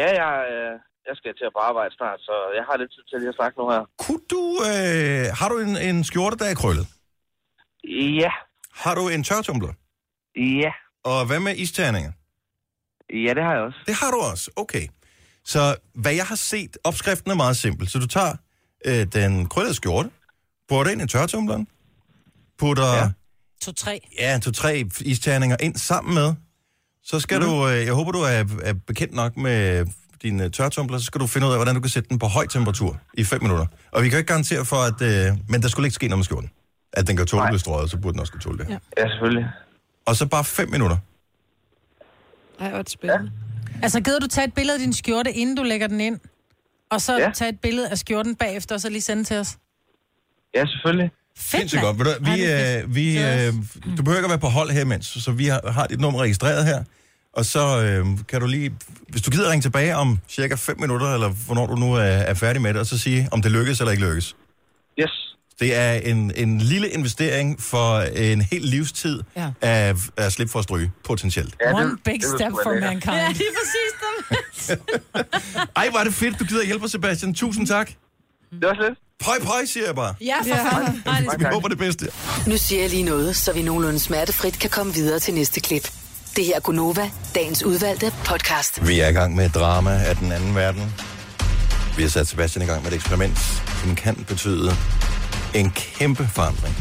[SPEAKER 13] Ja, jeg, øh, jeg skal til at på arbejde snart, så jeg har lidt tid til lige at snakke nu her.
[SPEAKER 1] Kunne du, øh, har du en, en skjorte, der er krøllet?
[SPEAKER 13] Ja.
[SPEAKER 1] Har du en tørretumbler?
[SPEAKER 13] Ja.
[SPEAKER 1] Og hvad med isterninger?
[SPEAKER 13] Ja, det har jeg også.
[SPEAKER 1] Det har du også, okay. Så hvad jeg har set, opskriften er meget simpel. Så du tager øh, den krøllede skjorte, putter ind i tørretumbleren, putter ja.
[SPEAKER 2] To, tre.
[SPEAKER 1] ja, to-tre isterninger ind sammen med. Så skal mm.
[SPEAKER 13] Mhm.
[SPEAKER 1] du, øh, jeg håber, du er, er bekendt nok med din øh, tørretumbler, så skal du finde ud af, hvordan du kan sætte den på høj temperatur i 5 minutter. Og vi kan jo ikke garantere for, at... Øh, men der skulle ikke ske noget med skjorten. At den kan tåle at blive strøget, så burde den også kunne tåle det. Ja,
[SPEAKER 13] ja selvfølgelig.
[SPEAKER 1] Og så bare 5 minutter.
[SPEAKER 2] Ej, hvor spændende. Ja. Altså, gider du tage et billede af din skjorte, inden du lægger den ind? Og så ja. tage et billede af skjorten bagefter, og så lige sende til os?
[SPEAKER 13] Ja, selvfølgelig.
[SPEAKER 1] Fedt, Sindssygt godt. Ved du, vi, øh, vi, øh,
[SPEAKER 2] Mm.
[SPEAKER 1] du behøver ikke at være på hold her imens, så vi har, har dit nummer registreret her. Og så øh, kan du lige, hvis du gider ringe tilbage om cirka 5 minutter, eller hvornår du nu er, er færdig med det, og så sige, om det lykkes eller ikke lykkes.
[SPEAKER 13] Yes.
[SPEAKER 1] Det er en, en lille investering for en hel livstid
[SPEAKER 2] Ja.
[SPEAKER 1] af, af slip for at stryge, potentielt.
[SPEAKER 2] One big step for mankind. Ja, lige præcis det.
[SPEAKER 1] Ej, var det fedt, du gider hjælpe os, Sebastian. Tusind tak.
[SPEAKER 13] Det var slet.
[SPEAKER 1] Pøj, pøj, siger jeg bare.
[SPEAKER 2] Ja,
[SPEAKER 8] for fanden. Ej, det er
[SPEAKER 1] Vi håber det bedste.
[SPEAKER 8] Nu siger jeg lige noget, så vi nogenlunde smertefrit kan komme videre til næste klip. Det her er Gunova, dagens udvalgte podcast.
[SPEAKER 1] Vi er i gang med et drama af den anden verden. Vi har sat Sebastian i gang med et eksperiment, som kan betyde en kæmpe forandring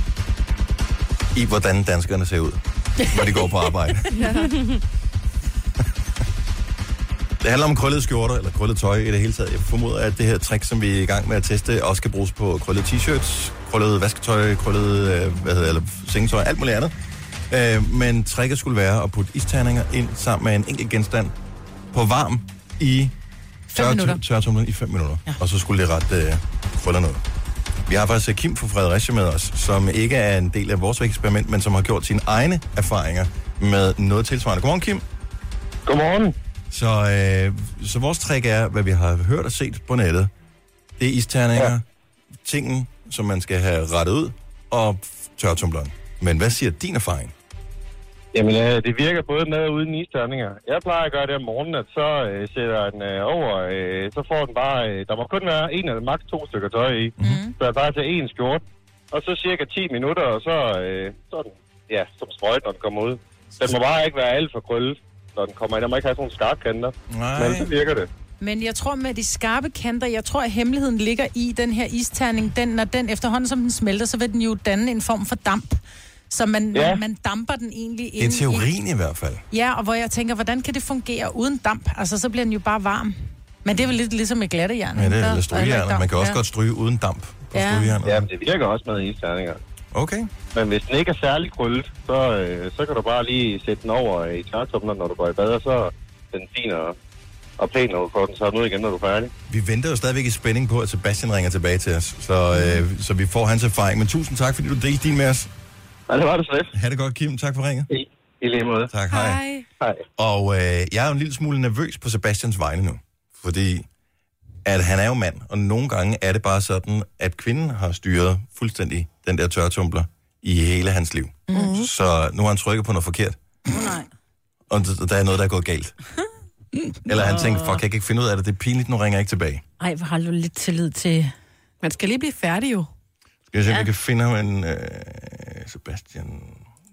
[SPEAKER 1] i, hvordan danskerne ser ud, når de går på arbejde. Det handler om krøllede skjorter, eller krøllet tøj i det hele taget. Jeg formoder, at det her trick, som vi er i gang med at teste, også kan bruges på krøllede t-shirts, krøllet vasketøj, krøllet øh, hvad hedder, det, eller sengetøj, alt muligt andet. Øh, men tricket skulle være at putte isterninger ind sammen med en enkelt genstand på varm i
[SPEAKER 2] minutter.
[SPEAKER 1] tørretum- tørretumleren i 5 minutter. Ja. Og så skulle det ret øh, krøller noget. Vi har faktisk øh, Kim fra Fredericia med os, som ikke er en del af vores eksperiment, men som har gjort sine egne erfaringer med noget tilsvarende. Godmorgen, Kim. Godmorgen. Så, øh, så vores trick er, hvad vi har hørt og set på nettet. Det er isterninger, ja. tingen, som man skal have rettet ud, og tørretumbleren. Men hvad siger din erfaring?
[SPEAKER 14] Jamen, øh, det virker både med og uden isterninger. Jeg plejer at gøre det om morgenen, at så øh, sætter jeg den øh, over, øh, så får den bare... Øh, der må kun være en eller maks to stykker tøj i.
[SPEAKER 4] Mhm.
[SPEAKER 14] Mm-hmm. Så jeg bare tager en skjort, og så cirka 10 minutter, og så, øh, så er den ja, som sprøjt, når den kommer ud. Den må bare ikke være alt for krøllet, når den kommer ind. Den må ikke have sådan nogle skarpe kanter.
[SPEAKER 1] Nej.
[SPEAKER 14] Men så virker det.
[SPEAKER 2] Men jeg tror med de skarpe kanter, jeg tror, at hemmeligheden ligger i den her isterning. Den, når den efterhånden, som den smelter, så vil den jo danne en form for damp. Så man,
[SPEAKER 1] Ja.
[SPEAKER 2] ja. man damper den egentlig
[SPEAKER 1] Det er
[SPEAKER 2] ind
[SPEAKER 1] teorien i hvert fald.
[SPEAKER 2] Ja, og hvor jeg tænker, hvordan kan det fungere uden damp? Altså, så bliver den jo bare varm. Men det er vel lidt ligesom med glattejern.
[SPEAKER 1] Ja,
[SPEAKER 2] ikke?
[SPEAKER 1] det
[SPEAKER 2] Der
[SPEAKER 1] er
[SPEAKER 2] heller ikke
[SPEAKER 1] strygejernet.
[SPEAKER 2] damp.
[SPEAKER 1] Man kan også
[SPEAKER 2] Ja.
[SPEAKER 1] godt stryge uden damp.
[SPEAKER 2] Ja.
[SPEAKER 14] Ja, men det virker også med isterninger.
[SPEAKER 1] Okay.
[SPEAKER 14] Men hvis den ikke er særlig krøllet, så, øh, så kan du bare lige sætte den over i tørretumleren, når du går i bad, og så er den fin og, og pæn, når du får den så ud igen, når du er færdig.
[SPEAKER 1] Vi venter jo stadigvæk i spænding på, at Sebastian ringer tilbage til os, så,
[SPEAKER 2] Mm.
[SPEAKER 1] øh, så vi får hans erfaring. Men tusind tak, fordi du delte din med os.
[SPEAKER 14] Ja, det var det slet.
[SPEAKER 1] Ha' det godt, Kim. Tak for ringet.
[SPEAKER 14] I, i lige måde.
[SPEAKER 1] Tak, hej. hej.
[SPEAKER 14] Hej.
[SPEAKER 1] Og øh, jeg er jo en lille smule nervøs på Sebastians vegne nu, fordi at han er jo mand, og nogle gange er det bare sådan, at kvinden har styret fuldstændig den der tørretumbler i hele hans liv.
[SPEAKER 4] Mhm.
[SPEAKER 1] Mm. Så nu har han trykket på noget forkert. Oh, nej. Og d- der er noget, der er gået galt. Eller han tænker, fuck, jeg kan ikke finde ud af det, det er pinligt, nu ringer jeg ikke tilbage.
[SPEAKER 3] Ej, hvor har du lidt tillid til...
[SPEAKER 4] Man skal lige blive færdig jo.
[SPEAKER 1] Skal jeg se, om
[SPEAKER 4] Ja.
[SPEAKER 1] vi kan finde ham en... Øh, Sebastian...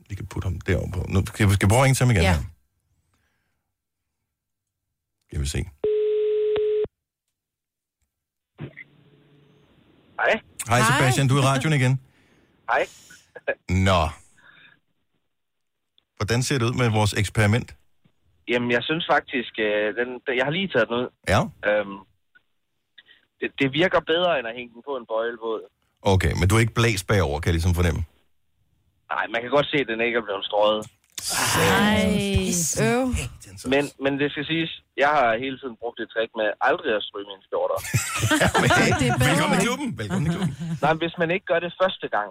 [SPEAKER 1] Vi kan putte ham derovre på. Nu skal vi skal vi prøve at ringe til ham igen.
[SPEAKER 4] Ja.
[SPEAKER 1] her? Skal vi se.
[SPEAKER 13] Hej.
[SPEAKER 1] Hej Sebastian, du er i radioen igen.
[SPEAKER 13] Hej.
[SPEAKER 1] Nå. Hvordan ser det ud med vores eksperiment?
[SPEAKER 13] Jamen, jeg synes faktisk, øh, den, den- jeg har lige taget den ud.
[SPEAKER 1] Ja.
[SPEAKER 13] Øhm, det, det virker bedre, end at hænge den på en bøjlevåd.
[SPEAKER 1] Okay, men du er ikke blæst bagover, kan jeg ligesom fornemme.
[SPEAKER 13] Nej, man kan godt se, at den ikke er blevet strøget.
[SPEAKER 1] Nej.
[SPEAKER 4] Øv.
[SPEAKER 13] Men, men det skal siges, jeg har hele tiden brugt det trick med aldrig at stryge mine skjorter.
[SPEAKER 1] Velkommen i klubben. Velkommen i klubben.
[SPEAKER 13] Nej, men hvis man ikke gør det første gang,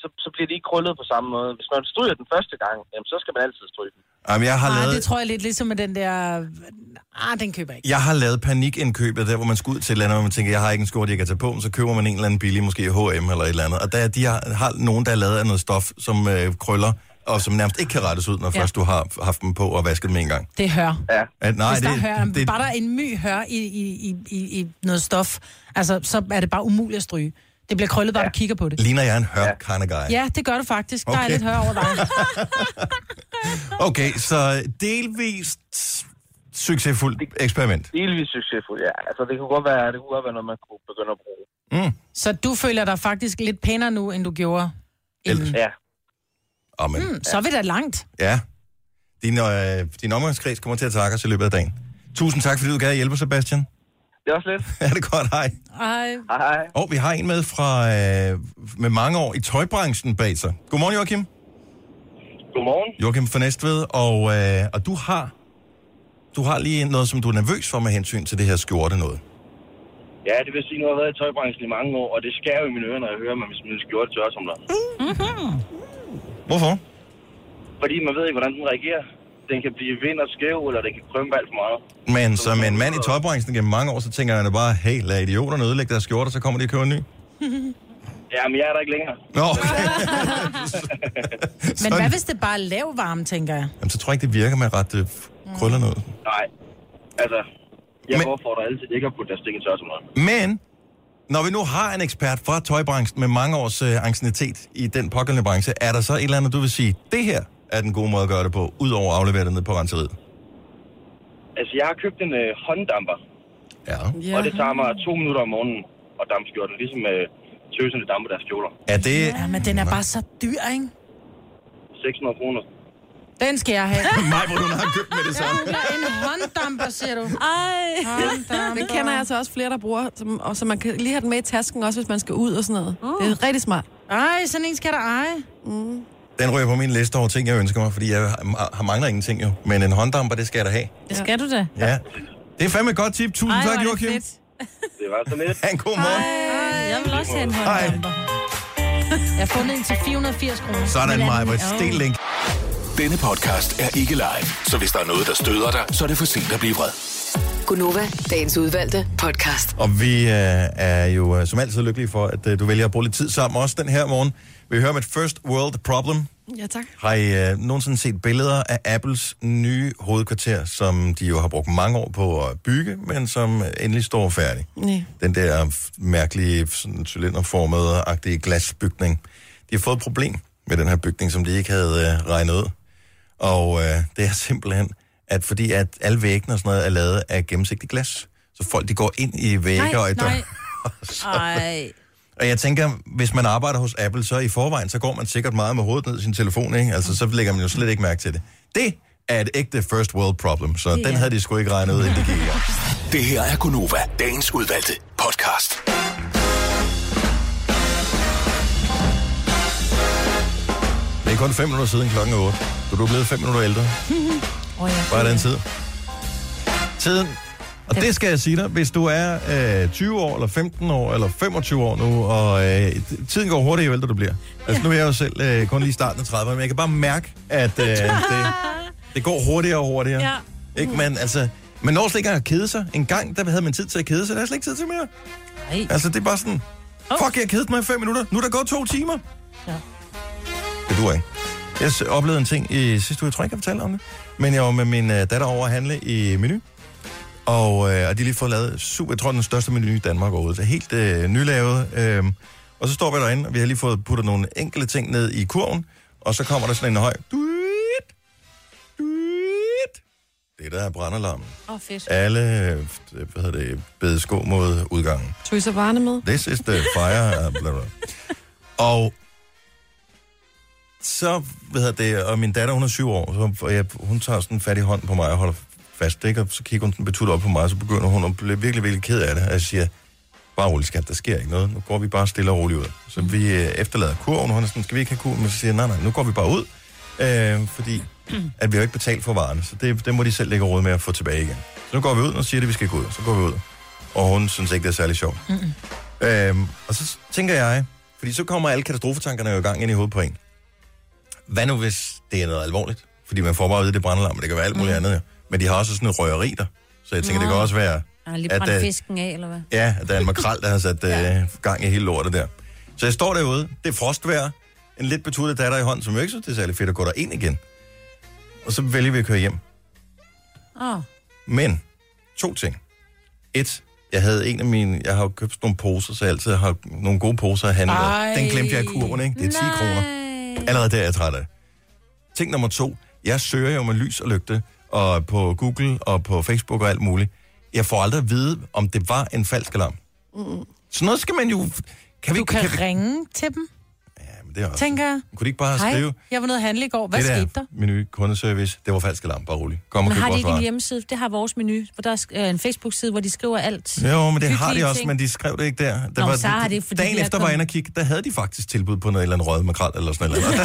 [SPEAKER 13] så, så bliver det ikke krøllet på samme måde. Hvis man stryger den første gang, jamen, så skal man altid stryge den.
[SPEAKER 1] Jamen, jeg har
[SPEAKER 2] Ej,
[SPEAKER 1] lavet...
[SPEAKER 2] det tror jeg lidt ligesom med den der... Ah, den køber jeg ikke.
[SPEAKER 1] Jeg har lavet panikindkøbet, der hvor man skal ud til et eller andet, og man tænker, jeg har ikke en skjorte, jeg kan tage på, men så køber man en eller anden billig, måske H&M eller et eller andet. Og der, er- de har, har nogen, der er lavet af noget stof, som øh, krøller, og som nærmest ikke kan rettes ud, når ja.
[SPEAKER 2] Ja.
[SPEAKER 1] først du har haft dem på og vasket dem en gang.
[SPEAKER 2] Det hører.
[SPEAKER 13] Ja.
[SPEAKER 1] At, nej,
[SPEAKER 2] Hvis der
[SPEAKER 1] det,
[SPEAKER 2] hører,
[SPEAKER 1] det,
[SPEAKER 2] bare der er en my hører i, i, i, i, i noget stof, altså, så er det bare umuligt at stryge. Det bliver krøllet, bare ja. du kigger på det.
[SPEAKER 1] ligner jeg en hør ja. kind of guy.
[SPEAKER 2] Ja, det gør du faktisk. Der er
[SPEAKER 1] Okay.
[SPEAKER 2] lidt hør over dig.
[SPEAKER 1] Okay, så delvist succesfuldt eksperiment.
[SPEAKER 13] Delvis succesfuldt, ja. Altså, det kunne godt være, det kunne godt være noget, man kunne begynde at bruge.
[SPEAKER 1] Mm.
[SPEAKER 2] Så du føler dig faktisk lidt pænere nu, end du gjorde.
[SPEAKER 13] Ja.
[SPEAKER 1] Amen.
[SPEAKER 2] Mm, så er vi da langt.
[SPEAKER 1] Ja. Din, øh, din omgangskreds kommer til at takke os i løbet af dagen. Tusind tak, fordi du gad hjælpe, Sebastian.
[SPEAKER 13] Det er også lidt.
[SPEAKER 1] Ja, det er godt. Hej.
[SPEAKER 2] Ej.
[SPEAKER 13] Hej.
[SPEAKER 1] Og vi har en med fra øh, med mange år i tøjbranchen bag sig. Godmorgen, Joachim.
[SPEAKER 11] Godmorgen.
[SPEAKER 1] Joachim fra Næstved, og, øh, og du har du har lige noget, som du er nervøs for med hensyn til det her skjorte noget.
[SPEAKER 11] Ja, det vil sige, nu har jeg været i tøjbranchen i mange år, og det skærer jo i mine ører, når jeg hører, at man vil smide en skjorte til os om
[SPEAKER 1] Hvorfor?
[SPEAKER 11] Fordi man ved ikke, hvordan den reagerer. Den kan blive vind og skæv, eller den kan krømpe alt for meget.
[SPEAKER 1] Men som en mand i tøjbranchen gennem mange år, så tænker jeg da bare, hey, lad idioterne ødelægge deres skjorter, så kommer de og køber en ny.
[SPEAKER 11] ja, men jeg er der ikke længere.
[SPEAKER 1] Nå, okay.
[SPEAKER 2] Men hvad hvis det bare er lav varme, tænker jeg?
[SPEAKER 1] Jamen, så tror jeg ikke, det virker med ret øh,
[SPEAKER 3] Mm.
[SPEAKER 1] krøller noget.
[SPEAKER 11] Nej. Altså, jeg men... opfordrer altid ikke at putte deres ting i tøjsområdet.
[SPEAKER 1] Men, når vi nu har en ekspert fra tøjbranchen med mange års øh, anciennitet i den pågældende branche, er der så et eller andet, du vil sige, det her er den gode måde at gøre det på, udover at aflevere det ned på renseriet?
[SPEAKER 11] Altså, jeg har købt en øh, hånddamper.
[SPEAKER 1] Ja.
[SPEAKER 11] Og det tager mig to minutter om morgenen at dampe skjorten, ligesom med tøserne damper deres kjoler.
[SPEAKER 1] Er det...
[SPEAKER 2] Ja, men den er bare så dyr, ikke?
[SPEAKER 11] 600 kroner.
[SPEAKER 2] Den skal jeg have.
[SPEAKER 1] Mig, hvor hun har købt med det samme.
[SPEAKER 2] Ja, en hånddamper, siger du.
[SPEAKER 3] Ej.
[SPEAKER 2] Hånddamper.
[SPEAKER 4] Det kender jeg altså også flere, der bruger, som, og så man kan lige have den med i tasken også, hvis man skal ud og sådan noget. Uh. Det er rigtig smart.
[SPEAKER 2] Ej, sådan en skal der eje.
[SPEAKER 4] Mm.
[SPEAKER 1] Den ryger på min liste over ting, jeg ønsker mig, fordi jeg har- har mangler ingenting jo. Men en hånddamper, det skal jeg da have.
[SPEAKER 3] Det skal du da.
[SPEAKER 1] Ja. Det er fandme et godt tip. Tusind
[SPEAKER 3] Ej,
[SPEAKER 1] Ej,
[SPEAKER 3] hvor er
[SPEAKER 1] tak,
[SPEAKER 3] det
[SPEAKER 1] Joachim.
[SPEAKER 3] fedt.
[SPEAKER 11] Det var så lidt.
[SPEAKER 1] Ha' en god morgen.
[SPEAKER 3] Ej, jeg vil også have en
[SPEAKER 1] Hej.
[SPEAKER 3] hånddamper.
[SPEAKER 2] Jeg har fundet en til 480 kroner.
[SPEAKER 1] Sådan,
[SPEAKER 2] Men er
[SPEAKER 1] Maja.
[SPEAKER 2] den-
[SPEAKER 1] Britt. Stil link.
[SPEAKER 9] Denne podcast er ikke live, så hvis der er noget, der støder dig, så er det for sent at blive vred.
[SPEAKER 8] Gunova, dagens udvalgte podcast.
[SPEAKER 1] Og vi øh, er jo øh, som altid lykkelige for, at øh, du vælger at bruge lidt tid sammen også den her morgen. Vi hører om et first world problem.
[SPEAKER 4] Ja, tak.
[SPEAKER 1] Har I øh, nogensinde set billeder af Apples nye hovedkvarter, som de jo har brugt mange år på at bygge, men som endelig står færdig?
[SPEAKER 4] Nej.
[SPEAKER 1] Den der f- mærkelige sådan, cylinderformede-agtige glasbygning. De har fået et problem med den her bygning, som de ikke havde øh, regnet ud. Og øh, det er simpelthen, at fordi at alle væggene og sådan noget er lavet af gennemsigtigt glas, så folk de går ind i vægge og i dør.
[SPEAKER 3] nej. Ej.
[SPEAKER 1] Og jeg tænker, hvis man arbejder hos Apple, så i forvejen, så går man sikkert meget med hovedet ned i sin telefon, ikke? Altså, så lægger man jo slet ikke mærke til det. Det er et ægte first world problem, så den havde de sgu ikke regnet ud, inden de gik i gang.
[SPEAKER 9] Det her er Gunova, dagens udvalgte podcast.
[SPEAKER 1] Det er kun 5 minutter siden klokken er 8, så du er blevet 5 minutter ældre.
[SPEAKER 3] Åh, ja.
[SPEAKER 1] Bare den tid. Tiden. Og det skal jeg sige dig, hvis du er øh, 20 år, eller 15 år, eller 25 år nu, og øh, t- tiden går hurtigt, jo ældre du bliver. Altså, nu er jeg jo selv øh, kun lige i starten af 30'erne, men jeg kan bare mærke, at øh, det, det går hurtigere og hurtigere.
[SPEAKER 3] Ja.
[SPEAKER 1] Ikke? Men altså, man når slet ikke engang at kede sig. En gang, der havde man tid til at kede sig, der er slet ikke tid til mere.
[SPEAKER 3] Ej.
[SPEAKER 1] Altså, det er bare sådan, fuck, jeg kedede mig i fem minutter, nu er der gået to timer.
[SPEAKER 3] Ja.
[SPEAKER 1] Det duer ikke. Jeg s- oplevede en ting i sidste uge, jeg tror ikke, jeg fortalte om det, men jeg var med min øh, datter over at handle i menu. Og, øh, og de har lige fået lavet super, jeg tror, den største menu i Danmark overhovedet. Så helt øh, nylavet. Øh, og så står vi derinde, og vi har lige fået puttet nogle enkelte ting ned i kurven. Og så kommer der sådan en høj... Duit, duit. Det der er brandalarmen.
[SPEAKER 4] oh,
[SPEAKER 3] Åh, fedt.
[SPEAKER 1] Alle øh, hvad hedder det, bede sko mod udgangen.
[SPEAKER 4] Tog I så varerne med?
[SPEAKER 1] This is the fire. uh, bla, bla. Og så, hvad hedder det, og min datter, hun er syv år, så og jeg, hun tager sådan fat i hånden på mig og holder fast, ikke? og så kigger hun sådan betuttet op på mig, og så begynder hun at blive virkelig, virkelig ked af det, og jeg siger, bare rolig skat, der sker ikke noget, nu går vi bare stille og roligt ud. Så vi øh, efterlader kurven, og hun er sådan, skal vi ikke have kurven? Men så siger jeg, nej, nej, nu går vi bare ud, øh, fordi at vi har ikke betalt for varerne, så det, det må de selv lægge råd med at få tilbage igen. Så nu går vi ud, og siger det, vi skal gå ud, så går vi ud. Og hun synes ikke, det er særlig sjovt. Øhm, og så tænker jeg, fordi så kommer alle katastrofetankerne jo i gang ind i hovedet på en. Hvad nu, hvis det er noget alvorligt? Fordi man får bare at vide, det er brandalarm, men det kan være alt muligt mm. andet. Jo. Men de har også sådan et røgeri der. Så jeg tænker, det
[SPEAKER 3] Nå.
[SPEAKER 1] kan også være,
[SPEAKER 3] Ej, lige
[SPEAKER 1] At,
[SPEAKER 3] brændt
[SPEAKER 1] øh,
[SPEAKER 3] fisken af, eller hvad?
[SPEAKER 1] ja, at der er en makrel, der har sat øh, gang i hele lortet der. Så jeg står derude, det er frostvejr, en lidt betuttet datter i hånden, som jo ikke synes, det er særlig fedt at gå derind igen. Og så vælger vi at køre hjem.
[SPEAKER 3] Åh.
[SPEAKER 1] Men to ting. Et, jeg havde en af mine, jeg har jo købt sådan nogle poser, så jeg altid har nogle gode poser at handle
[SPEAKER 9] Ej.
[SPEAKER 1] med. Den glemte jeg i kurven, ikke? Det er 10
[SPEAKER 9] Nej.
[SPEAKER 1] kroner. Allerede der er jeg træt af det. Ting nummer to, jeg søger jo med lys og lygte, og på Google og på Facebook og alt muligt. Jeg får aldrig at vide, om det var en falsk alarm.
[SPEAKER 2] Mm.
[SPEAKER 1] Så noget skal man jo... Kan vi,
[SPEAKER 2] Du kan,
[SPEAKER 1] kan vi,
[SPEAKER 2] ringe til dem,
[SPEAKER 1] Jamen, det er også,
[SPEAKER 2] tænker jeg.
[SPEAKER 1] Kunne de ikke bare
[SPEAKER 2] Hej,
[SPEAKER 1] skrive,
[SPEAKER 2] jeg var nede at handle i går. Hvad
[SPEAKER 1] det
[SPEAKER 2] skete der?
[SPEAKER 1] menu kundeservice, det var falsk alarm, bare rolig. Kom og
[SPEAKER 3] Men
[SPEAKER 1] køb
[SPEAKER 3] har de
[SPEAKER 1] vores
[SPEAKER 3] ikke en
[SPEAKER 1] varer.
[SPEAKER 3] hjemmeside? Det har vores menu, hvor der er øh, en Facebook-side, hvor de skriver alt.
[SPEAKER 1] Jo, men det har
[SPEAKER 3] Hyggelige
[SPEAKER 1] de også,
[SPEAKER 3] ting.
[SPEAKER 1] men de skrev det ikke der. der
[SPEAKER 3] Nå, så har det, fordi
[SPEAKER 1] dagen
[SPEAKER 3] de er
[SPEAKER 1] efter var jeg
[SPEAKER 3] kommet-
[SPEAKER 1] inde og kigge, der havde de faktisk tilbud på noget eller andet røget makrel eller sådan noget. Og der,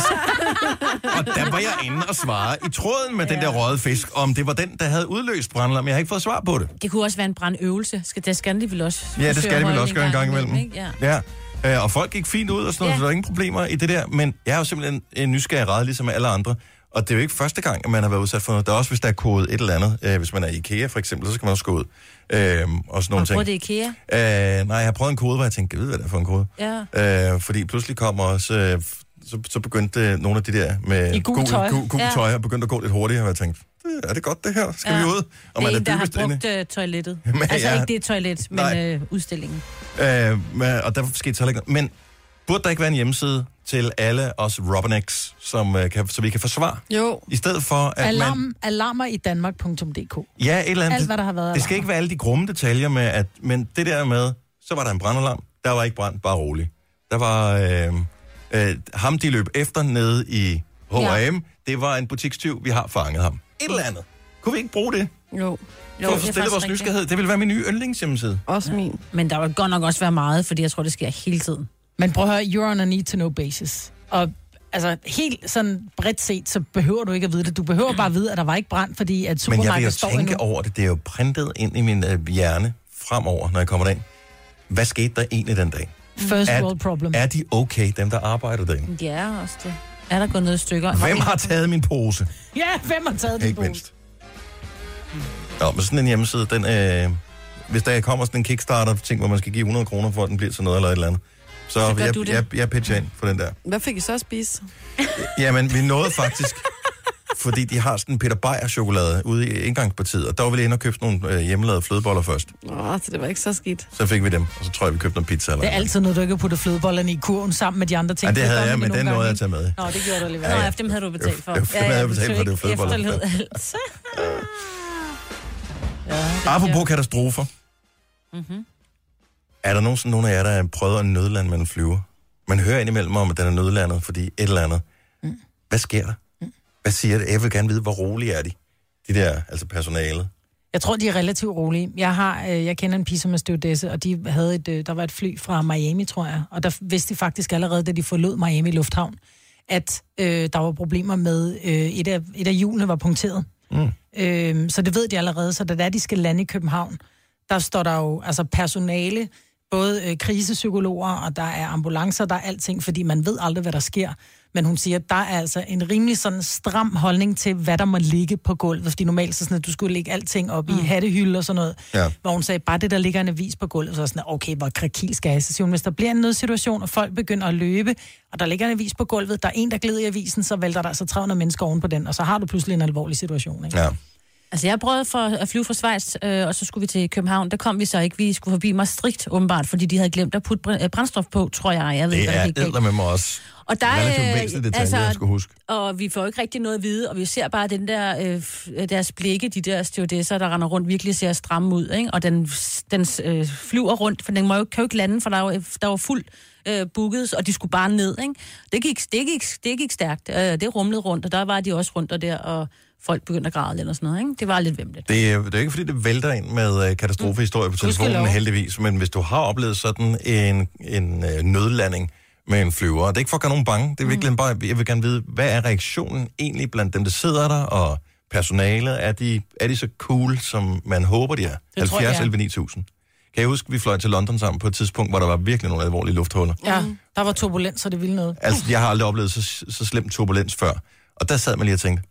[SPEAKER 1] og der var jeg inde og svare i tråden med ja. den der røde fisk, om det var den, der havde udløst brandalarm. Jeg har ikke fået svar på det.
[SPEAKER 3] Det kunne også være en brandøvelse. Skal, det skal de vel også
[SPEAKER 1] Ja, det
[SPEAKER 3] forsøge at
[SPEAKER 1] skal de vel
[SPEAKER 3] holde
[SPEAKER 1] også gøre en gang imellem.
[SPEAKER 3] ikke? Ja.
[SPEAKER 1] Ja. Øh, Og folk gik fint ud og sådan noget, så der var ingen problemer i det der. Men jeg er jo simpelthen en nysgerrig ræd, ligesom alle andre. Og det er jo ikke første gang, at man har været udsat for noget. Der er også, hvis der er kodet et eller andet. Øh, Hvis man er i IKEA for eksempel, så skal man også gå ud. Øh, og sådan nogle
[SPEAKER 3] Prøv
[SPEAKER 1] ting.
[SPEAKER 3] det IKEA.
[SPEAKER 1] Øh, nej, jeg har prøvet en kode, hvor jeg tænkte, jeg ved, hvad det er for en kode.
[SPEAKER 3] Ja.
[SPEAKER 1] Øh, fordi pludselig kommer også... Øh, så, så begyndte øh, nogle af de der med
[SPEAKER 3] I gult tøj.
[SPEAKER 1] gul, gul
[SPEAKER 3] Ja.
[SPEAKER 1] tøj og begyndte at gå lidt hurtigere, og jeg tænkte, "Det- er det godt det her? Skal ja. vi ud? Og
[SPEAKER 3] det
[SPEAKER 1] man
[SPEAKER 3] er
[SPEAKER 1] er
[SPEAKER 3] en, der har
[SPEAKER 1] dybest inde.
[SPEAKER 3] brugt øh, toilettet.
[SPEAKER 1] Men
[SPEAKER 3] altså
[SPEAKER 1] ja.
[SPEAKER 3] ikke det toilet, men
[SPEAKER 1] Nej.
[SPEAKER 3] øh, udstillingen.
[SPEAKER 1] Øh, men- og der skete så heller ikke noget. Men Burde der ikke være en hjemmeside til alle os Robinex, som, øh, kan, så vi kan få svar?
[SPEAKER 2] Jo.
[SPEAKER 1] I stedet for, at
[SPEAKER 2] Alarm,
[SPEAKER 1] man...
[SPEAKER 2] man... Alarmer i Danmark.dk.
[SPEAKER 1] Ja, et eller andet.
[SPEAKER 2] Alt, hvad der har været
[SPEAKER 1] Det skal
[SPEAKER 2] alarmer.
[SPEAKER 1] ikke være alle de grumme detaljer med, at, men det der med, så var der en brandalarm, der var ikke brand, bare rolig. Der var øh, øh, ham, de løb efter nede i H&M, ja. det var en butikstyv, vi har fanget ham. Et eller andet. Kunne vi ikke bruge det?
[SPEAKER 4] Jo.
[SPEAKER 1] Jo, for at forstille vores nysgerrighed. Det ville være min nye yndlingshjemmeside.
[SPEAKER 4] Også min.
[SPEAKER 3] Men der vil godt nok også være meget, fordi jeg tror, det sker hele tiden.
[SPEAKER 2] Men prøv at høre, you're on a need-to-know basis. Og altså, helt sådan bredt set, så behøver du ikke at vide det. Du behøver bare at vide, at der var ikke brand, fordi at
[SPEAKER 1] Men jeg vil jo
[SPEAKER 2] supermarkedet står
[SPEAKER 1] tænke
[SPEAKER 2] endnu.
[SPEAKER 1] over det. Det er jo printet ind i min øh, hjerne fremover, når jeg kommer derind. Hvad skete der egentlig den dag?
[SPEAKER 2] First
[SPEAKER 1] Er-
[SPEAKER 2] world problem.
[SPEAKER 1] Er de okay, dem der arbejder derinde?
[SPEAKER 3] Ja, også det. Er der gået noget i stykker?
[SPEAKER 1] Hvem har taget min pose?
[SPEAKER 2] Ja, hvem har taget
[SPEAKER 1] Ikke mindst. Nå, men sådan en hjemmeside, den, øh, hvis der kommer sådan en Kickstarter-ting, hvor man skal give 100 kroner for, at den bliver til noget eller et eller andet, så,
[SPEAKER 4] Så gør
[SPEAKER 1] jeg,
[SPEAKER 4] du det.
[SPEAKER 1] jeg, jeg pitcher ind for den der.
[SPEAKER 4] Hvad fik I så at spise?
[SPEAKER 1] Jamen, vi nåede faktisk, fordi de har sådan en Peter Beyer-chokolade ude i indgangspartiet, og der var vi lige inde og købte nogle øh, hjemmelavede flødeboller først.
[SPEAKER 4] Nå, så det var ikke så skidt.
[SPEAKER 1] Så fik vi dem, og så tror jeg, vi købte noget pizza eller
[SPEAKER 2] Det er altid noget, du ikke har puttet flødebollerne i kurven sammen med de andre ting.
[SPEAKER 1] Ja, det havde
[SPEAKER 2] gør man
[SPEAKER 1] jeg,
[SPEAKER 2] jo
[SPEAKER 1] men
[SPEAKER 2] nogle
[SPEAKER 1] den
[SPEAKER 2] gange,
[SPEAKER 1] nåede jeg
[SPEAKER 2] ikke?
[SPEAKER 1] at tage med.
[SPEAKER 2] Nå, det gjorde du alligevel.
[SPEAKER 1] Ja, ja.
[SPEAKER 3] Nå, efter dem havde du betalt for.
[SPEAKER 1] Jo, dem havde jeg betalt for, det var
[SPEAKER 3] betød ikke
[SPEAKER 1] flødeboller.
[SPEAKER 3] efterlød altså.
[SPEAKER 1] Apropos katastrofer.
[SPEAKER 3] Mhm.
[SPEAKER 1] Er der nogensinde nogen af jer, der har prøvet at nødlande med en flyver? Man hører indimellem om, at den er nødlandet, fordi et eller andet.
[SPEAKER 4] Mm.
[SPEAKER 1] Hvad sker der? Hvad siger det? Jeg vil gerne vide, hvor rolige er de? De der, altså personalet.
[SPEAKER 2] Jeg tror, de er relativt rolige. Jeg, har, øh, jeg kender en pige, som er stewardesse, og de havde et, øh, der var et fly fra Miami, tror jeg. Og der vidste de faktisk allerede, da de forlod Miami Lufthavn, at øh, der var problemer med, øh, et, af, et af hjulene var punkteret.
[SPEAKER 6] Hmm.
[SPEAKER 15] Mm.
[SPEAKER 2] Øh, så det ved de allerede. Så da det er, de skal lande i København, der står der jo altså personale, både øh, krisepsykologer, og der er ambulancer, der er alting, fordi man ved aldrig, hvad der sker. Men hun siger, at der er altså en rimelig sådan stram holdning til, hvad der må ligge på gulvet. Fordi normalt så sådan, at du skulle lægge alting op mm. i hattehylde og sådan noget.
[SPEAKER 15] Ja.
[SPEAKER 2] Hvor hun sagde, bare det, der ligger en avis på gulvet, så er jeg sådan, okay, hvor krakil skal jeg? Så siger hun, hvis der bliver en nødsituation, og folk begynder at løbe, og der ligger en avis på gulvet, der er en, der glider i avisen, så vælter der altså 300 mennesker oven på den, og så har du pludselig en alvorlig situation. Ikke?
[SPEAKER 1] Ja.
[SPEAKER 3] Altså, jeg prøvede for at flyve fra Schweiz, øh, og så skulle vi til København. Der kom vi så ikke. Vi skulle forbi Maastricht, åbenbart, fordi de havde glemt at putte br- øh, brændstof på, tror jeg. jeg ved,
[SPEAKER 1] Det
[SPEAKER 3] ikke, hvad der
[SPEAKER 1] er
[SPEAKER 3] gik galt.
[SPEAKER 1] ædler med mig også.
[SPEAKER 3] Og der,
[SPEAKER 1] Relativt
[SPEAKER 3] øh,
[SPEAKER 1] væsentlige detaljer,
[SPEAKER 3] altså-
[SPEAKER 1] jeg skulle huske.
[SPEAKER 3] Og vi får ikke rigtig noget at vide, og vi ser bare den der, øh, f- deres blikke, de der stewardesser, der render rundt, virkelig ser stramme ud, ikke? Og den, den øh, flyver rundt, for den må jo, kan jo ikke lande, for der var, der var fuld øh, booket, og de skulle bare ned, ikke? Det gik, det gik, det gik stærkt. Øh, det rumlede rundt, og der var de også rundt og der, og folk begyndte at græde eller sådan noget, ikke? Det var lidt vemmeligt.
[SPEAKER 1] Det er, det er jo ikke, fordi det vælter ind med øh, katastrofehistorier på
[SPEAKER 3] Gudskelov.
[SPEAKER 1] telefonen, heldigvis. Men hvis du har oplevet sådan en, en øh, nødlanding med en flyver, og det er ikke for at gøre nogen bange, det er virkelig mm. bare, jeg vil gerne vide, hvad er reaktionen egentlig blandt dem, der sidder der, og personalet, er de, er de så cool, som man håber, de er?
[SPEAKER 2] Det tror jeg,
[SPEAKER 1] 70
[SPEAKER 2] de er.
[SPEAKER 1] 11 9000. Kan jeg huske, vi fløj til London sammen på et tidspunkt, hvor der var virkelig nogle alvorlige lufthuller.
[SPEAKER 2] Ja,
[SPEAKER 4] Mm.
[SPEAKER 2] der var turbulens, så det ville noget.
[SPEAKER 1] Altså, jeg har aldrig oplevet så, så slem turbulens før. Og der sad man lige og tænkte,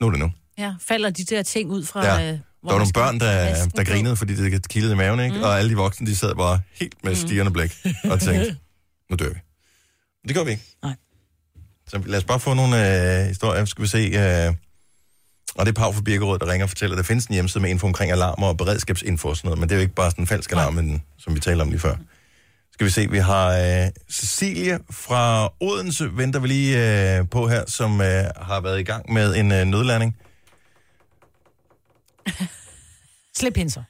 [SPEAKER 1] nu er det nu.
[SPEAKER 3] Ja, falder de der ting ud fra...
[SPEAKER 1] Ja.
[SPEAKER 3] Øh, hvor
[SPEAKER 1] Der var
[SPEAKER 3] man
[SPEAKER 1] nogle
[SPEAKER 3] skal-
[SPEAKER 1] børn, der,
[SPEAKER 3] Masken
[SPEAKER 1] der
[SPEAKER 3] på.
[SPEAKER 1] grinede, fordi det kildede i maven, ikke? Mm. Og alle de voksne, de sad bare helt med stigende blik og tænkte, nu dør vi. Men det gør vi ikke.
[SPEAKER 2] Nej.
[SPEAKER 1] Så lad os bare få nogle øh, historier. Skal vi se... Øh, og det er Pau fra Birkerød, der ringer og fortæller, at der findes en hjemmeside med info omkring alarmer og beredskabsinfo og sådan noget, men det er jo ikke bare sådan en falsk alarm, men, som vi talte om lige før. Skal vi se, vi har øh, Cecilie fra Odense, venter vi lige øh, på her, som øh, har været i gang med en øh, nødlanding.
[SPEAKER 2] Slip hende så.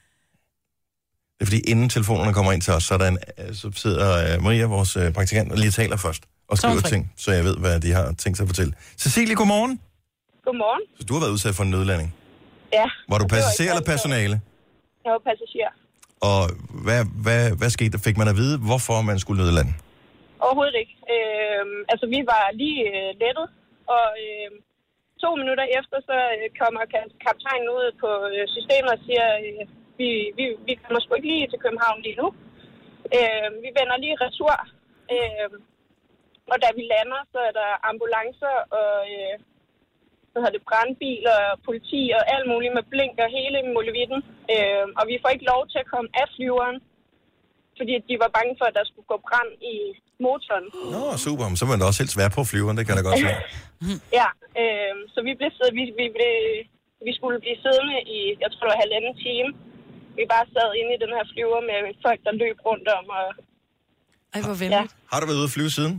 [SPEAKER 1] Det er fordi, inden telefonerne kommer ind til os, så, er der en, øh, så sidder øh, Maria, vores øh, praktikant, og lige taler først
[SPEAKER 16] Så er
[SPEAKER 1] og
[SPEAKER 16] hun
[SPEAKER 1] skriver
[SPEAKER 16] fri.
[SPEAKER 1] ting, så jeg ved, hvad de har tænkt sig at fortælle. Cecilie, godmorgen.
[SPEAKER 16] Godmorgen.
[SPEAKER 1] Så du har været udsat for en nødlanding.
[SPEAKER 16] Ja.
[SPEAKER 1] Var du
[SPEAKER 16] Det ikke
[SPEAKER 1] passager eller
[SPEAKER 16] altid-
[SPEAKER 1] personale?
[SPEAKER 16] Jeg var passager.
[SPEAKER 1] Og hvad, hvad, hvad skete der? Fik man at vide, hvorfor man skulle nødlande?
[SPEAKER 16] Overhovedet ikke. Øhm, altså, vi var lige øh, lettet, og øhm, to minutter efter, så øh, kommer ka- kaptajnen ud på øh, systemet og siger, øh, vi, vi, vi kommer sgu ikke lige til København lige nu. Øhm, vi vender lige retur. Øhm, og da vi lander, så er der ambulancer og øh, hvad hedder det, brandbiler, politi og alt muligt med blink og hele molevitten. Øhm, og vi får ikke lov til at komme af flyveren, fordi de var bange for, at der skulle gå brand i motoren.
[SPEAKER 1] Nå, super. Men Så vil man da også helst være på flyveren, det kan jeg da godt se.
[SPEAKER 2] Mhm.
[SPEAKER 16] Ja, øh, så vi blev, sidd- vi, vi, blev, vi skulle blive siddende i, jeg tror det var halvanden time. Vi bare sad inde i den her flyver med folk, der løb rundt om, og
[SPEAKER 2] Ej, hvor
[SPEAKER 1] venligt. Har du været ude at flyve siden?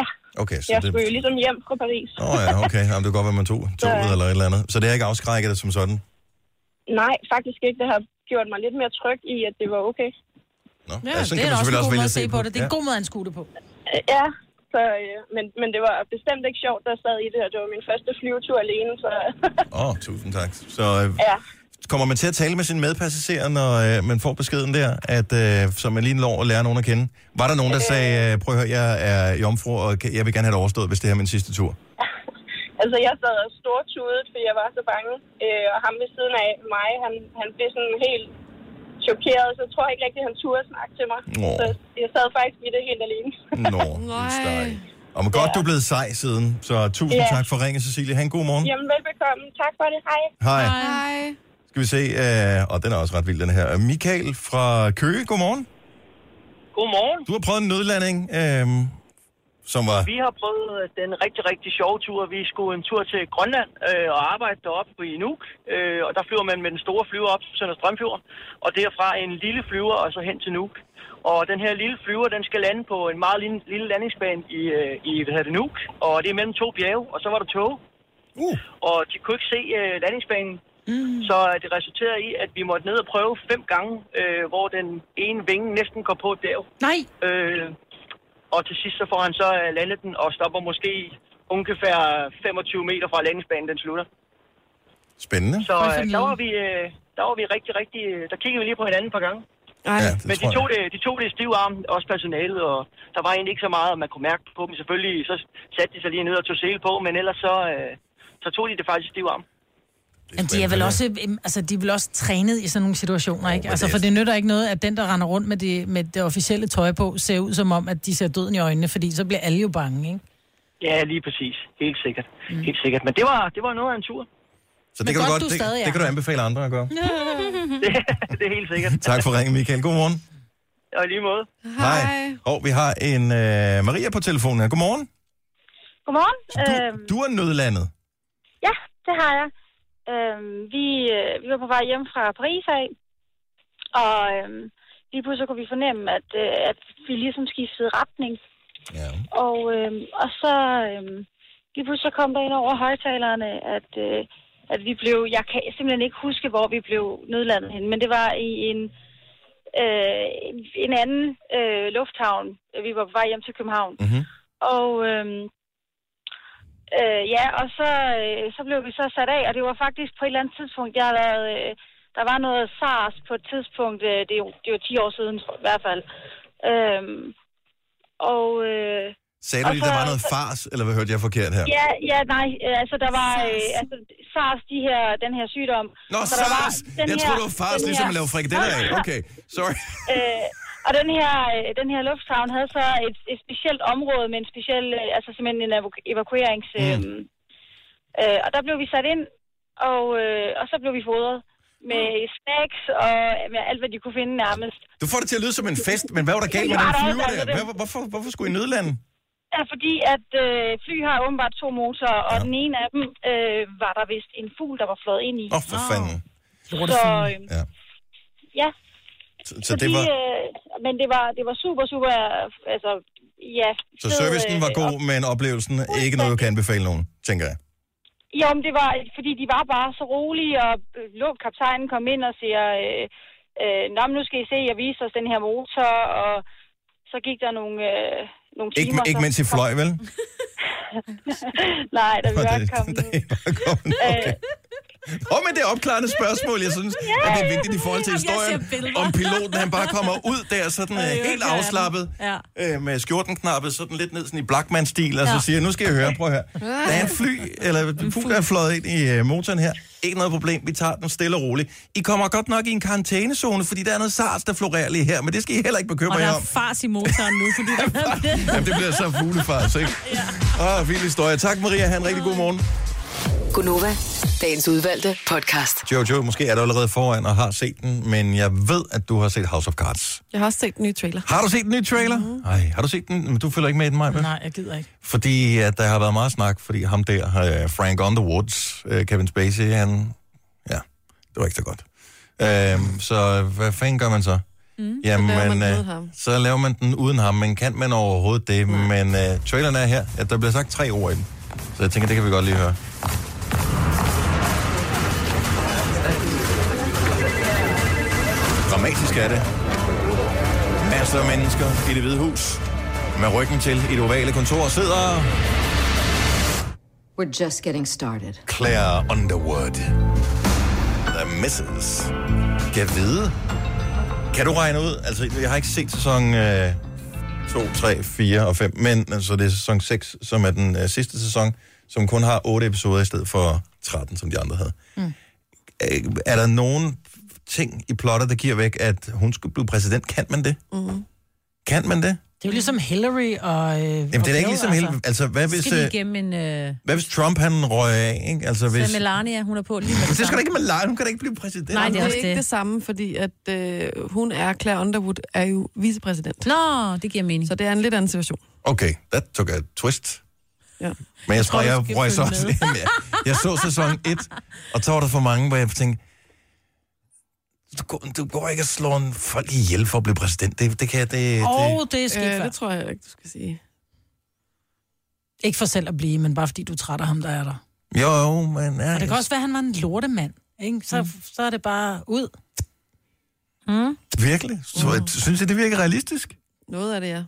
[SPEAKER 16] Ja,
[SPEAKER 1] Okay, så
[SPEAKER 16] jeg
[SPEAKER 1] det...
[SPEAKER 16] skulle jo ligesom hjem fra Paris.
[SPEAKER 1] Åh oh, ja, okay. Jamen, det kan godt være, man tog toget eller et eller andet. Så det har ikke afskrækket dig som sådan?
[SPEAKER 16] Nej, faktisk ikke. Det har gjort mig lidt mere tryg i, at det var okay.
[SPEAKER 1] Nå,
[SPEAKER 2] Ja,
[SPEAKER 1] sådan kan
[SPEAKER 2] det er
[SPEAKER 1] man
[SPEAKER 2] da også en
[SPEAKER 1] selvfølgelig
[SPEAKER 2] god
[SPEAKER 1] også
[SPEAKER 2] måde
[SPEAKER 1] vælge
[SPEAKER 2] at se på det. Det er en
[SPEAKER 1] Ja.
[SPEAKER 2] god måde at anskue det på.
[SPEAKER 16] Øh, Ja, så, øh, men, men det var bestemt ikke sjovt, der sad i det, og det var min første flyvetur alene, så
[SPEAKER 1] Åh, oh, tusind tak. Så øh,
[SPEAKER 16] ja.
[SPEAKER 1] kommer man til at tale med sine medpassagerer, når øh, man får beskeden der, at øh, så man lige når at lære nogen at kende? Var der nogen, der sagde, øh, prøv at høre, jeg er jomfru, og kan- jeg vil gerne have det overstået, hvis det her er min sidste tur?
[SPEAKER 16] Altså, jeg sad og stortudet, fordi jeg var så bange. Øh, og ham ved siden af mig, han, han blev sådan helt chokeret, så jeg tror ikke rigtig, han turde snakke til mig.
[SPEAKER 1] Nå.
[SPEAKER 16] Så jeg sad faktisk i det helt alene.
[SPEAKER 1] Nå, Nej. Og godt, du er blevet sej siden, så tusind
[SPEAKER 16] Ja.
[SPEAKER 1] tak for ringen, Cecilie. Ha' en god morgen.
[SPEAKER 16] Jamen, velbekomme. Tak for det. Hej.
[SPEAKER 1] Hej.
[SPEAKER 16] Hej.
[SPEAKER 1] Skal vi se, øh, og den er også ret vild, den her. Michael fra Køge, godmorgen.
[SPEAKER 15] Godmorgen.
[SPEAKER 1] Du har prøvet en nødlanding, øh, som var...
[SPEAKER 15] Vi har prøvet øh, den rigtig, rigtig sjove tur. Vi skulle en tur til Grønland øh, og arbejde deroppe i Nuuk. Øh, og der flyver man med den store flyver op til Sønder Strømfjorden. Og derfra en lille flyver og så hen til Nuuk. Og den her lille flyver, den skal lande på en meget lille, lille landingsbane i, øh, i hvad hedder det, Nuuk. Og det er mellem to bjerge, og så var der tog.
[SPEAKER 1] Uh.
[SPEAKER 15] Og de kunne ikke se øh, landingsbanen. Mm. Så øh, det resulterede i, at vi måtte ned og prøve fem gange, øh, hvor den ene vinge næsten går på et bjerg.
[SPEAKER 2] Nej.
[SPEAKER 15] Øh, og til sidst så får han så øh, landet den og stopper måske ungefær 25 meter fra landingsbanen, den slutter.
[SPEAKER 1] Spændende.
[SPEAKER 15] Så øh, der, var vi, øh, der var vi rigtig, rigtig... øh, Der kiggede vi lige på hinanden et par gange.
[SPEAKER 1] Ej, ja,
[SPEAKER 15] Men de tog, det, de tog det i stiv arm, også personalet, og der var egentlig ikke så meget, man kunne mærke på dem. Selvfølgelig så satte de sig lige ned og tog sele på, men ellers så, øh, så tog de det faktisk i stiv arm.
[SPEAKER 2] Men de er vel også, øhm, altså, de er vel også trænet i sådan nogle situationer, ikke?
[SPEAKER 15] men
[SPEAKER 2] Altså,
[SPEAKER 15] det-
[SPEAKER 2] for det nytter ikke noget, at den, der render rundt med det, med det officielle tøj på, ser ud som om, at de ser døden i øjnene, fordi så bliver alle jo bange, ikke?
[SPEAKER 15] Ja, lige præcis. Helt sikkert. Mm. Helt sikkert. Men det var, det var noget af en tur.
[SPEAKER 1] Så
[SPEAKER 15] Men
[SPEAKER 1] det kan,
[SPEAKER 15] godt,
[SPEAKER 1] du godt,
[SPEAKER 15] du
[SPEAKER 1] det,
[SPEAKER 15] stadig er
[SPEAKER 1] det kan du anbefale andre at gøre.
[SPEAKER 15] det, det er helt sikkert.
[SPEAKER 1] Tak for ringen, Michael. Godmorgen.
[SPEAKER 15] Og i lige måde.
[SPEAKER 1] Hej. Og vi har en øh, Maria på telefonen her. Godmorgen.
[SPEAKER 17] Godmorgen.
[SPEAKER 1] Du,
[SPEAKER 17] Øhm,
[SPEAKER 1] du er nødlandet.
[SPEAKER 17] ja, det har jeg. Øhm, vi, øh, vi var på vej hjem fra Paris af, og øhm, lige pludselig kunne vi fornemme, at, øh, at vi ligesom skiftede retning.
[SPEAKER 1] Ja.
[SPEAKER 17] Og, øhm, og så øhm, lige pludselig så kom der ind over højtalerne, at, øh, at vi blev... Jeg kan simpelthen ikke huske, hvor vi blev nødlandet hen, men det var i en, øh, en anden øh, lufthavn. Vi var på vej hjem til København.
[SPEAKER 1] Mm-hmm.
[SPEAKER 17] Og... Øhm, Øh, ja, og så, øh, så blev vi så sat af, og det var faktisk på et eller andet tidspunkt, jeg har været, øh, der var noget SARS på et tidspunkt, øh, det, er jo, det var 10 år siden tror jeg, i hvert fald. Øh, og, øh,
[SPEAKER 1] Sagde du
[SPEAKER 17] og
[SPEAKER 1] lige, der var noget fars, eller hvad hørte jeg forkert her?
[SPEAKER 17] Ja, ja, nej, øh, altså der var øh, altså, SARS, de her, den her sygdom.
[SPEAKER 1] Nå,
[SPEAKER 17] Så der var
[SPEAKER 1] fars!
[SPEAKER 17] den
[SPEAKER 1] Jeg
[SPEAKER 17] her-
[SPEAKER 1] troede, det var fars,
[SPEAKER 17] den
[SPEAKER 1] ligesom
[SPEAKER 17] her-
[SPEAKER 1] at lave frikadeller af. Okay, sorry.
[SPEAKER 17] Øh, og den her, øh, den her lufthavn havde så et, et specielt område med en speciel, øh, altså simpelthen en evaku- evakuerings... Øh, mm. øh, og der blev vi sat ind, og, øh, og så blev vi fodret med
[SPEAKER 1] Mm.
[SPEAKER 17] snacks og øh, med alt, hvad de kunne finde nærmest.
[SPEAKER 1] Du får det til at lyde som en fest, men hvad var der galt med
[SPEAKER 17] Ja,
[SPEAKER 1] den
[SPEAKER 17] der er
[SPEAKER 1] flyver
[SPEAKER 17] også
[SPEAKER 1] der?
[SPEAKER 17] altså det.
[SPEAKER 1] Hvad, hvorfor, hvorfor skulle I nødlande?
[SPEAKER 17] Ja, fordi at øh, fly har åbenbart to motorer, og ja. den ene af dem øh, var der vist en fugl, der var flået ind i.
[SPEAKER 1] Åh, oh, for fanden.
[SPEAKER 17] Så, øh,
[SPEAKER 1] Ja.
[SPEAKER 17] ja,
[SPEAKER 1] Så, så, det var,
[SPEAKER 17] øh, men det var, det var super, super, altså, ja.
[SPEAKER 1] så
[SPEAKER 17] fed,
[SPEAKER 1] servicen
[SPEAKER 17] øh,
[SPEAKER 1] var god, men oplevelsen ikke noget, du kan anbefale nogen, tænker jeg.
[SPEAKER 17] Jo, men det var, fordi de var bare så rolige, og øh, lå kaptajnen kom ind og siger, øh, øh, Nå, men nu skal I se, jeg viser os den her motor, og så gik der nogle, øh, nogle timer.
[SPEAKER 1] Ikke, ikke
[SPEAKER 17] så-
[SPEAKER 1] mens I fløj, vel?
[SPEAKER 17] Nej, da vi
[SPEAKER 1] Og
[SPEAKER 17] var
[SPEAKER 1] det-
[SPEAKER 17] kommet.
[SPEAKER 1] da I var kommet, okay. Åh, men det er opklarende spørgsmål, jeg synes, at det er vigtigt i forhold til
[SPEAKER 7] Jamen, jeg ser
[SPEAKER 1] historien,
[SPEAKER 7] billeder.
[SPEAKER 1] om piloten han bare kommer ud der sådan øh, helt afslappet,
[SPEAKER 7] Ja.
[SPEAKER 1] øh, med skjorten knappet sådan lidt ned sådan i Blackman-stil, og
[SPEAKER 7] Ja.
[SPEAKER 1] så siger, nu skal jeg høre, prøv her. Der er en fly, eller en fugl, der er fløjet ind i øh, motoren her. Ikke noget problem, vi tager den stille og roligt. I kommer godt nok i en karantænezone, fordi der er noget SARS, der florerer lige her, men det skal I heller ikke bekymre
[SPEAKER 3] Og der
[SPEAKER 1] jer
[SPEAKER 3] er
[SPEAKER 1] om.
[SPEAKER 3] fars i motoren nu, fordi der er
[SPEAKER 1] Jamen, det bliver så fuglefars, ikke? Åh, vild historie. Tak, Maria. Ha' en rigtig god morgen.
[SPEAKER 8] Gunova, dagens udvalgte podcast.
[SPEAKER 1] Jojo, måske er du allerede foran og har set den, men jeg ved, at du har set House of Cards.
[SPEAKER 4] Jeg har også set den nye trailer. Mhm.
[SPEAKER 1] Har du set den nye trailer? Nej, mm-hmm. har du set den? Men du følger ikke med i den, Maja?
[SPEAKER 2] Nej, jeg gider ikke.
[SPEAKER 1] Fordi at der har været meget snak, fordi ham der, øh, Frank Underwoods, øh, Kevin Spacey, han... Ja, det var ikke så godt. Øhm, så hvad fanden gør man så? Mm. Jamen, så laver, man øh, så laver man den uden ham, men kan man overhovedet det? Nej. Men øh, traileren er her, at der bliver sagt tre ord i den. Så jeg tænker, det kan vi godt lige høre. Dramatisk er det. Masser af mennesker i det hvide hus. Med ryggen til i det ovale kontor sidder
[SPEAKER 8] We're just getting started.
[SPEAKER 1] Claire Underwood. The Mrs. Kan vide. Kan du regne ud? Altså, jeg har ikke set sæson øh, 2, 3, 4 og 5, men altså, det er sæson 6, som er den øh, sidste sæson, som kun har 8 episoder i stedet for 13, som de andre havde.
[SPEAKER 2] Mm.
[SPEAKER 1] Øh, er der nogen ting i plottet, der giver væk, at hun skulle blive præsident? Kan man det?
[SPEAKER 2] Mm.
[SPEAKER 1] Kan man det?
[SPEAKER 2] Det er jo ligesom Hillary og... Øh, Jamen,
[SPEAKER 1] Jamen, det er da ikke ligesom altså. helt... Altså, hvad hvis,
[SPEAKER 3] Skal vi
[SPEAKER 1] øh,
[SPEAKER 3] igennem en... Øh,
[SPEAKER 1] hvad hvis Trump, han røg af, ikke? Altså, hvis...
[SPEAKER 3] hvis... Melania, hun er på lige med
[SPEAKER 1] Men det skal
[SPEAKER 3] samme.
[SPEAKER 1] da ikke med lege, hun kan da ikke blive præsident.
[SPEAKER 4] Nej, det er, det er ikke det. det samme, fordi at øh, hun er, Claire Underwood er jo vicepræsident.
[SPEAKER 3] Nå, det giver mening.
[SPEAKER 4] Så det er en lidt anden situation.
[SPEAKER 1] Okay, that took a twist.
[SPEAKER 4] Ja.
[SPEAKER 1] Men jeg,
[SPEAKER 4] Jeg
[SPEAKER 1] tror,
[SPEAKER 4] tror, du
[SPEAKER 1] jeg,
[SPEAKER 4] skal
[SPEAKER 1] røg så
[SPEAKER 4] følge
[SPEAKER 1] også,
[SPEAKER 4] med.
[SPEAKER 1] Jamen, jeg, jeg så sæson 1, og så var der for mange, hvor jeg tænkte, du, går- du går ikke at slå en folk ihjel for at blive præsident. Det, det kan jeg, det,
[SPEAKER 2] Åh,
[SPEAKER 1] det.
[SPEAKER 2] det er sket
[SPEAKER 4] Øh,
[SPEAKER 2] før.
[SPEAKER 4] det tror jeg ikke, du skal sige.
[SPEAKER 2] Ikke for selv at blive, men bare fordi du er træt af ham, der er der.
[SPEAKER 1] Jo, men... Ja,
[SPEAKER 2] Og det kan også være, at han var en lortemand. Ikke? Så, mm. så er det bare ud. Mm.
[SPEAKER 1] Virkelig? Så, Synes jeg, det virker realistisk?
[SPEAKER 4] Noget af det, ja.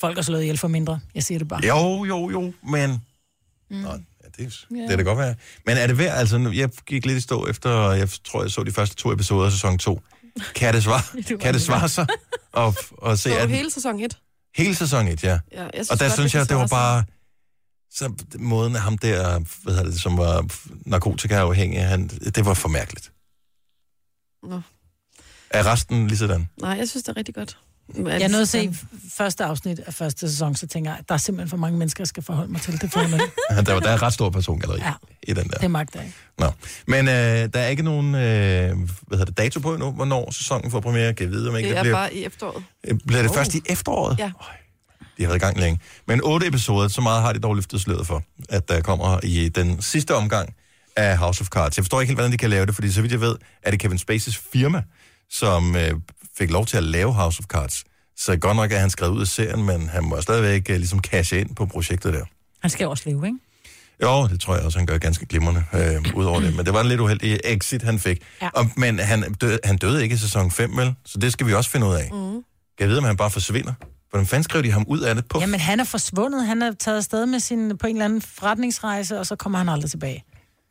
[SPEAKER 2] Folk er slået ihjel for mindre. Jeg siger det bare.
[SPEAKER 1] Jo, jo, jo, men...
[SPEAKER 2] Mm.
[SPEAKER 1] Nå, ja, det, det kan det godt være. Men er det værd, altså, nu, jeg gik lidt i stå efter, jeg tror, jeg så de første to episoder af sæson 2. Kan det svare, kan det svare sig at, at se
[SPEAKER 4] Så
[SPEAKER 1] at,
[SPEAKER 4] hele sæson 1.
[SPEAKER 1] hele sæson 1, ja.
[SPEAKER 4] Ja, jeg synes
[SPEAKER 1] og der
[SPEAKER 4] godt,
[SPEAKER 1] synes
[SPEAKER 4] det
[SPEAKER 1] jeg, det
[SPEAKER 4] kan
[SPEAKER 1] var
[SPEAKER 4] svare
[SPEAKER 1] bare... Så måden af ham der, hvad hedder det, som var narkotikaafhængig, han, det var for mærkeligt.
[SPEAKER 4] Nå.
[SPEAKER 1] Er resten lige sådan?
[SPEAKER 4] Nej, jeg synes, det er rigtig godt.
[SPEAKER 2] Jeg nåede at se f- første afsnit af første sæson, så tænker jeg, at der er simpelthen for mange mennesker, jeg skal forholde mig til. Det får jeg med.
[SPEAKER 1] Der, var, der er ret stor persongalleri ja. i den der.
[SPEAKER 2] Det magter jeg ikke.
[SPEAKER 1] Nå. Men øh, der er ikke nogen øh, hvad hedder det, dato på endnu, hvornår sæsonen får premiere. Kan jeg vide, om ikke
[SPEAKER 4] Det
[SPEAKER 1] det,
[SPEAKER 4] er
[SPEAKER 1] bliver...
[SPEAKER 4] bare i efteråret.
[SPEAKER 1] Øh, Bliver det oh. først i efteråret?
[SPEAKER 4] Ja.
[SPEAKER 1] De har været i gang længe. Men otte episoder, så meget har de dog løftet sløret for, at der kommer i den sidste omgang af House of Cards. Jeg forstår ikke helt, hvordan de kan lave det, fordi så vidt jeg ved, er det Kevin Spacey's firma, som øh, fik lov til at lave House of Cards. Så godt nok er han skrevet ud af serien, men han må stadigvæk øh, ligesom cashe ind på projektet der.
[SPEAKER 3] Han skal jo også leve, ikke?
[SPEAKER 1] Jo, det tror jeg også, han gør ganske glimrende øh, ud over det. Men det var en lidt uheldig exit, han fik. Ja. Og, men han, dø, han døde ikke i sæson 5, vel? Så det skal vi også finde ud af. Mm. Kan jeg vide, om han bare forsvinder? Hvordan fanden skrev de ham ud af det på?
[SPEAKER 2] Jamen, han er forsvundet. Han er taget afsted med sin, på en eller anden forretningsrejse, og så kommer han aldrig tilbage.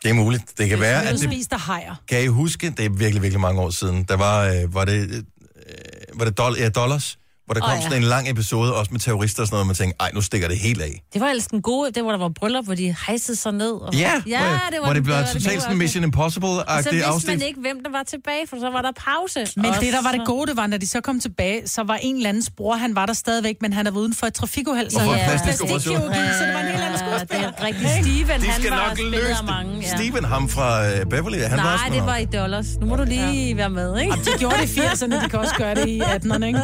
[SPEAKER 1] Det er muligt. Det kan være,
[SPEAKER 2] Han
[SPEAKER 1] at det...
[SPEAKER 2] spist af hajer.
[SPEAKER 1] Kan I huske, det er virkelig, virkelig mange år siden, der var, øh, var det, øh, var det doll, ja, Dollars, hvor der
[SPEAKER 3] Åh,
[SPEAKER 1] kom oh,
[SPEAKER 3] ja.
[SPEAKER 1] ja. sådan en lang episode, også med terrorister og sådan noget, og man tænkte, ej, nu stikker det helt af.
[SPEAKER 3] Det var ellers den gode, det var der var bryllup, hvor de hejsede sig ned. Og...
[SPEAKER 1] Ja,
[SPEAKER 3] ja det var
[SPEAKER 1] hvor det
[SPEAKER 3] den-
[SPEAKER 1] blev
[SPEAKER 3] var den
[SPEAKER 1] totalt sådan
[SPEAKER 3] gode afsnit.
[SPEAKER 1] Mission
[SPEAKER 3] Og så
[SPEAKER 1] Impossible-agtigt
[SPEAKER 3] vidste
[SPEAKER 1] afsnit.
[SPEAKER 3] man ikke, hvem der var tilbage, for så var der pause.
[SPEAKER 2] Men
[SPEAKER 3] Og
[SPEAKER 2] det, der var det
[SPEAKER 3] så-
[SPEAKER 2] gode, det var, når de så kom tilbage, så var en eller andens bror, han var der stadigvæk, men han er uden for et trafikuheld. Så
[SPEAKER 3] Og for
[SPEAKER 2] ja,
[SPEAKER 3] en plastisk
[SPEAKER 2] plastikkirurgi,
[SPEAKER 3] operation.
[SPEAKER 2] så det var en helt anden skuespiller.
[SPEAKER 3] det er rigtigt. Steven,
[SPEAKER 1] De
[SPEAKER 3] han
[SPEAKER 1] skal
[SPEAKER 3] var
[SPEAKER 1] nok
[SPEAKER 3] spillet
[SPEAKER 1] løse
[SPEAKER 3] af
[SPEAKER 1] det.
[SPEAKER 3] mange. Ja.
[SPEAKER 1] Steven, ham fra øh, Beverly, han var også
[SPEAKER 3] Nej,
[SPEAKER 1] med
[SPEAKER 3] det
[SPEAKER 1] ham.
[SPEAKER 3] var i dollars. Nu må du lige ja. være med, ikke?
[SPEAKER 2] De gjorde det i 80'erne, de kan også gøre det i 18'erne, ikke?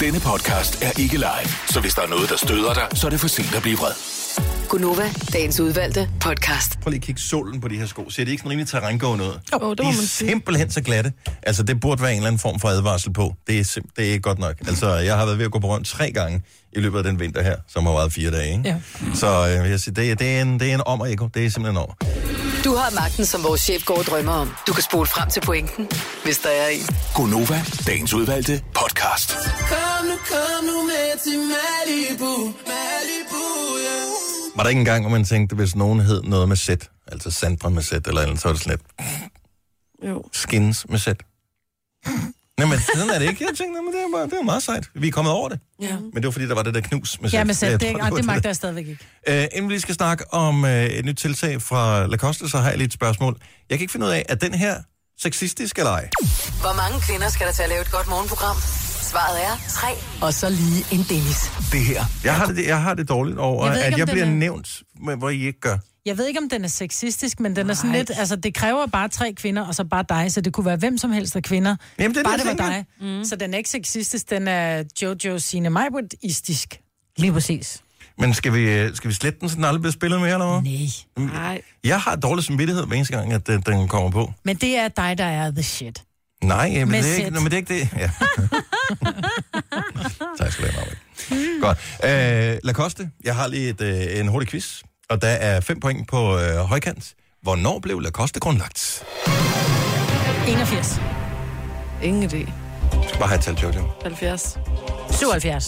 [SPEAKER 9] Denne podcast er ikke live, så hvis der er noget, der støder dig, så er det for sent at blive vred.
[SPEAKER 8] Gunova, dagens udvalgte podcast.
[SPEAKER 1] Prøv lige at kigge solen på de her sko. Ser de ikke sådan rimelig terrængående ud?
[SPEAKER 2] Jo, det må
[SPEAKER 1] de er
[SPEAKER 2] man sige.
[SPEAKER 1] simpelthen så glatte. Altså, det burde være en eller anden form for advarsel på. Det er, simp- det er ikke godt nok. Altså, jeg har været ved at gå på rundt tre gange i løbet af den vinter her, som har været fire dage, ikke?
[SPEAKER 2] Ja.
[SPEAKER 1] Så øh, jeg siger, det, er- det, er en, det er en om og ego. Det er simpelthen over.
[SPEAKER 8] Du har magten, som vores chef går og drømmer om. Du kan spole frem til pointen, hvis der er en.
[SPEAKER 9] Gonova, dagens udvalgte podcast.
[SPEAKER 18] Kom nu, kom nu med til Malibu, Malibu, ja.
[SPEAKER 1] Var der ikke engang, hvor man tænkte, hvis nogen hed noget med sæt, altså Sandra med sæt, eller andet, så var det sådan lidt
[SPEAKER 4] Jo.
[SPEAKER 1] skins med sæt. Nej, men sådan er det ikke. Jeg tænkte, "Nå, men det er, bare, det er meget sejt. Vi er kommet over det.
[SPEAKER 2] Ja.
[SPEAKER 1] Men det var fordi, der var det der knus med sæt.
[SPEAKER 2] Ja, men
[SPEAKER 1] Jeg
[SPEAKER 2] selv, det,
[SPEAKER 1] tror,
[SPEAKER 2] ej,
[SPEAKER 1] var
[SPEAKER 2] det magter jeg stadigvæk ikke.
[SPEAKER 1] Øh, inden vi lige skal snakke om øh, et nyt tiltag fra Lacoste, så har jeg lige et spørgsmål. Jeg kan ikke finde ud af, er den her sexistisk eller ej?
[SPEAKER 8] Hvor mange kvinder skal der til at lave et godt morgenprogram? Svaret er tre. Og så lige en Dennis.
[SPEAKER 1] Det her. Jeg har det, jeg har det dårligt over,
[SPEAKER 2] Jeg
[SPEAKER 1] jeg at
[SPEAKER 2] ved ikke, om
[SPEAKER 1] jeg
[SPEAKER 2] den
[SPEAKER 1] bliver
[SPEAKER 2] er-
[SPEAKER 1] nævnt, men hvor I ikke gør.
[SPEAKER 2] Jeg ved ikke, om den er sexistisk, men den er sådan lidt... Altså, det kræver bare tre kvinder, og så bare dig, så det kunne være hvem som helst af kvinder.
[SPEAKER 1] Jamen, det er det,
[SPEAKER 2] bare
[SPEAKER 1] jeg
[SPEAKER 2] det var dig.
[SPEAKER 1] tænker.
[SPEAKER 2] Mm. Så den er ikke sexistisk, den er Jojo Signe Majbert-istisk.
[SPEAKER 3] Lige præcis.
[SPEAKER 1] Men skal vi, øh, skal vi slette den, så den aldrig bliver spillet mere, eller hvad?
[SPEAKER 2] Nej.
[SPEAKER 1] Jeg har dårlig samvittighed hver eneste gang, at øh, den, den kommer på.
[SPEAKER 2] Men det er dig, der er the shit.
[SPEAKER 1] Nej, jamen,
[SPEAKER 2] Med
[SPEAKER 1] det er ikke,
[SPEAKER 2] sæt.
[SPEAKER 1] nå, men det er ikke det. Ja. tak skal du have, Marvind. Godt. Øh, Lacoste, jeg har lige et, øh, en hurtig quiz, og der er fem point på øh, højkant. Hvornår blev Lacoste grundlagt?
[SPEAKER 2] 81.
[SPEAKER 4] Ingen idé.
[SPEAKER 1] Jeg skal bare have et tal, Jojo.
[SPEAKER 4] 70.
[SPEAKER 2] 77.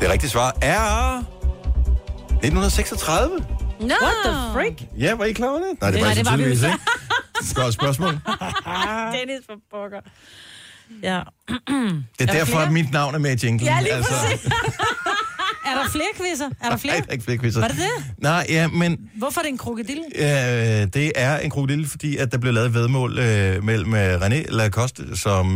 [SPEAKER 1] Det rigtige svar er... 1936.
[SPEAKER 3] No. What the freak?
[SPEAKER 1] Ja, var I klar over det? Nej, det
[SPEAKER 3] Nej,
[SPEAKER 1] var,
[SPEAKER 3] det
[SPEAKER 1] det
[SPEAKER 3] var
[SPEAKER 1] var
[SPEAKER 3] vi jo
[SPEAKER 1] tydeligvis
[SPEAKER 3] så.
[SPEAKER 1] ikke. Godt spørgsmål.
[SPEAKER 3] Ah. Dennis for pokker. Ja.
[SPEAKER 1] Det er
[SPEAKER 3] der
[SPEAKER 1] derfor,
[SPEAKER 3] flere?
[SPEAKER 1] at mit navn er med i jinglen. Altså,
[SPEAKER 3] Ja, lige præcis. er der flere quizzer? Er der flere?
[SPEAKER 1] Nej, der er ikke flere quizzer.
[SPEAKER 2] Var det det?
[SPEAKER 1] Nej, ja, men
[SPEAKER 2] Hvorfor er det en krokodille?
[SPEAKER 1] Øh, det er en krokodille, fordi at der blev lavet vedmål øh, mellem øh, René Lacoste, som øh,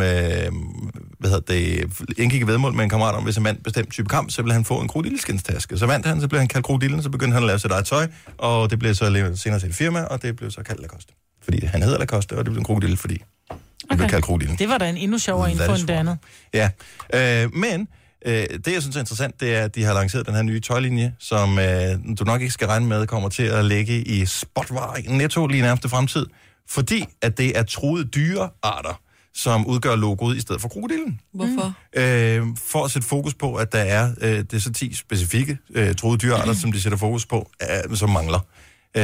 [SPEAKER 1] hvad hedder det, indgik et vedmål med en kammerat om, hvis en mand bestemt type kamp, så ville han få en krokodilleskinstaske. Så vandt han, så blev han kaldt krokodillen, så begyndte han at lave sit eget tøj, og det blev så lavet senere til et firma, og det blev så kaldt Lacoste. Fordi han hedder Lacoste, og det blev en krokodille, fordi han okay. blev kaldt krokodillen.
[SPEAKER 2] Det var da en endnu sjovere
[SPEAKER 1] That
[SPEAKER 2] info
[SPEAKER 1] is
[SPEAKER 2] end det andet.
[SPEAKER 1] Ja, øh, men øh, det, jeg synes er interessant, det er, at de har lanceret den her nye tøjlinje, som øh, du nok ikke skal regne med, kommer til at ligge i spotvarer i netto lige i nærmeste fremtid, fordi at det er troede dyrearter, som udgør logoet i stedet for krokodillen.
[SPEAKER 4] Hvorfor?
[SPEAKER 1] Øh, for at sætte fokus på, at der er, øh, det er så 10 specifikke øh, troede dyrearter, som de sætter fokus på, øh, som mangler. Øh,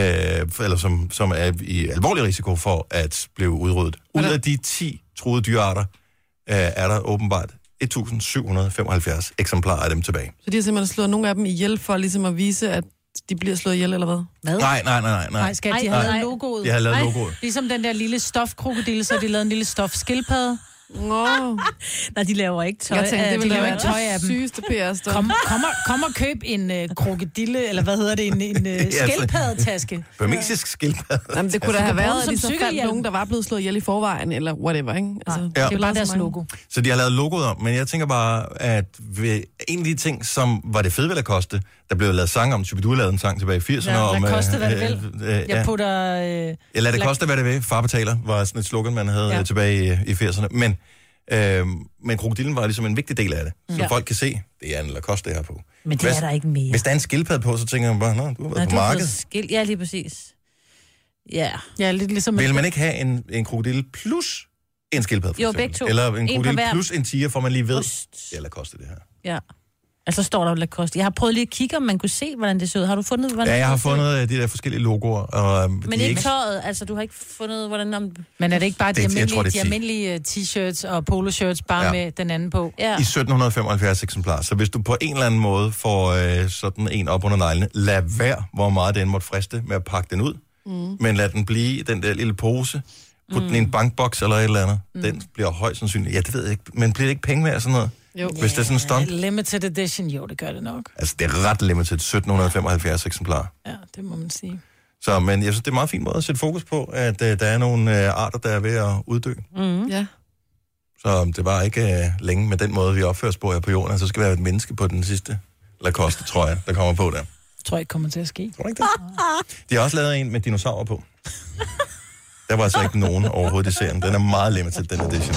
[SPEAKER 1] eller som, som er i alvorlig risiko for at blive udryddet. Ud af de 10 troede dyrearter, øh, er der åbenbart 1775 eksemplarer af dem tilbage.
[SPEAKER 4] Så de har simpelthen slået nogle af dem ihjel for ligesom at vise, at de bliver slået ihjel, eller hvad?
[SPEAKER 1] Hvad? Nej, nej, nej, nej.
[SPEAKER 2] Nej, skat, de har lavet logoet.
[SPEAKER 1] De har lavet
[SPEAKER 2] Ej.
[SPEAKER 1] logoet.
[SPEAKER 2] Ligesom den der lille stofkrokodille, så har de lavet en lille stofskildpadde.
[SPEAKER 4] Nå.
[SPEAKER 2] Nej, de laver ikke
[SPEAKER 3] tøj
[SPEAKER 2] Jeg tænkte,
[SPEAKER 3] af-
[SPEAKER 2] det
[SPEAKER 3] de
[SPEAKER 2] ville de
[SPEAKER 3] laver
[SPEAKER 2] laver
[SPEAKER 3] ikke
[SPEAKER 2] tøj af dem.
[SPEAKER 4] Sygeste PR-stunt.
[SPEAKER 2] Kom, kom, og, kom og køb en øh, krokodille, eller hvad hedder det, en, en øh,
[SPEAKER 1] altså-
[SPEAKER 2] skildpaddetaske.
[SPEAKER 1] Burmesisk skildpadde.
[SPEAKER 4] Jamen, det kunne da
[SPEAKER 2] Altså,
[SPEAKER 4] have
[SPEAKER 2] du kan bruge
[SPEAKER 4] været,
[SPEAKER 2] det
[SPEAKER 4] at
[SPEAKER 2] som
[SPEAKER 4] de så fandt
[SPEAKER 2] cykelhjelm.
[SPEAKER 4] nogen, der var blevet slået ihjel i forvejen, eller whatever, ikke? Altså,
[SPEAKER 1] Ja.
[SPEAKER 2] Det er bare deres logo.
[SPEAKER 1] Så de har lavet logoet om, men jeg tænker bare, at ved en af de ting, som var det fede ved Lacoste, der blev lavet sang om, typisk du lavede en sang tilbage i 80'erne.
[SPEAKER 2] Ja,
[SPEAKER 1] om,
[SPEAKER 2] lad koste, hvad det
[SPEAKER 1] øh,
[SPEAKER 2] vil.
[SPEAKER 1] øh, øh, ja.
[SPEAKER 2] Jeg putter... Øh,
[SPEAKER 1] Ja, lad det koste, hvad det vil. Far betaler, var sådan et slogan, man havde
[SPEAKER 2] Ja.
[SPEAKER 1] ja. tilbage i, i 80'erne. Men, øh, men krokodillen var ligesom en vigtig del af det. Så
[SPEAKER 3] Ja.
[SPEAKER 1] ja. folk kan se, det er en Lacoste, det her på.
[SPEAKER 3] Men det er der ikke mere.
[SPEAKER 1] Hvis der er en skildpadde på, så tænker man bare, nå, du har været på
[SPEAKER 3] Nå, du har fået
[SPEAKER 1] markedet.
[SPEAKER 3] skil- Ja, lige præcis. Ja.
[SPEAKER 2] Ja, lidt ligesom...
[SPEAKER 1] Vil man ikke have en, en krokodille plus en skildpadde? for
[SPEAKER 3] Jo,
[SPEAKER 1] eksempel?
[SPEAKER 3] begge to.
[SPEAKER 1] Eller en
[SPEAKER 3] En på
[SPEAKER 1] krokodille
[SPEAKER 3] hver.
[SPEAKER 1] plus en tiger, for man lige ved, det er Lacoste, det her.
[SPEAKER 3] Ja. Altså står der jo Lacoste. Jeg har prøvet lige at kigge, om man kunne se, hvordan det så ud. Har du fundet, hvordan
[SPEAKER 1] Ja,
[SPEAKER 3] det
[SPEAKER 1] jeg har
[SPEAKER 3] så ud?
[SPEAKER 1] fundet øh, de der forskellige logoer. Og øhm, de
[SPEAKER 3] Men
[SPEAKER 1] er
[SPEAKER 3] ikke tøjet, altså du har ikke fundet, hvordan... Om...
[SPEAKER 2] Men er det ikke bare de
[SPEAKER 1] Det- jeg
[SPEAKER 2] almindelige,
[SPEAKER 1] tror, det er
[SPEAKER 2] de
[SPEAKER 1] ti.
[SPEAKER 2] almindelige øh, t-shirts og poloshirts, bare
[SPEAKER 1] Ja.
[SPEAKER 2] med den anden på?
[SPEAKER 3] Ja.
[SPEAKER 1] i 1775 eksemplarer. Så hvis du på en eller anden måde får øh, sådan en op under neglene, lad være, hvor meget den måtte friste med at pakke den ud. Mm. Men lad den blive i den der lille pose. Put mm. den i en bankboks eller et eller andet. Mm. Den bliver højst sandsynligt. Ja, det ved jeg ikke. Men bliver det ikke penge værd og sådan noget?
[SPEAKER 2] Jo.
[SPEAKER 1] Hvis det er sådan en stunt.
[SPEAKER 2] Limited edition, jo, det gør det nok.
[SPEAKER 1] Altså, det er ret limited. 1775 eksemplarer.
[SPEAKER 2] Ja, det må man sige.
[SPEAKER 1] Så, men jeg synes, det er en meget fin måde at sætte fokus på, at øh, der er nogle øh, arter, der er ved at uddø.
[SPEAKER 4] Mm. Ja.
[SPEAKER 1] Så det var ikke øh, længe med den måde, vi opfører os på her på jorden. at Så skal vi have et menneske på den sidste Lacoste, tror jeg, der kommer på der.
[SPEAKER 2] Tror jeg ikke kommer til at ske.
[SPEAKER 1] Tror ikke det? De har også lavet en med dinosaurer på. Der var altså ikke nogen overhovedet i serien. Den er meget limited, den edition.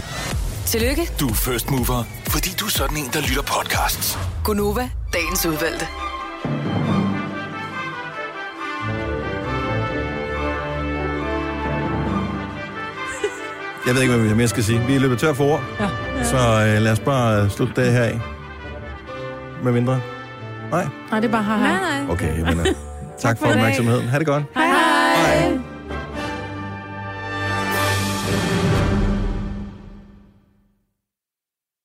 [SPEAKER 8] Tillykke,
[SPEAKER 9] Du er first mover, fordi du er sådan en, der lytter podcasts.
[SPEAKER 8] Gunova, dagens udvalgte.
[SPEAKER 1] Jeg ved ikke, hvad vi mere skal sige. Vi er løbet tør for ord. Ja. Så øh, lad os bare slutte det her af. Med mindre. Nej?
[SPEAKER 2] Nej, det er bare hej. Nej, nej.
[SPEAKER 1] Okay, jeg mener. Tak for opmærksomheden. Ha' det godt. Hej. hej.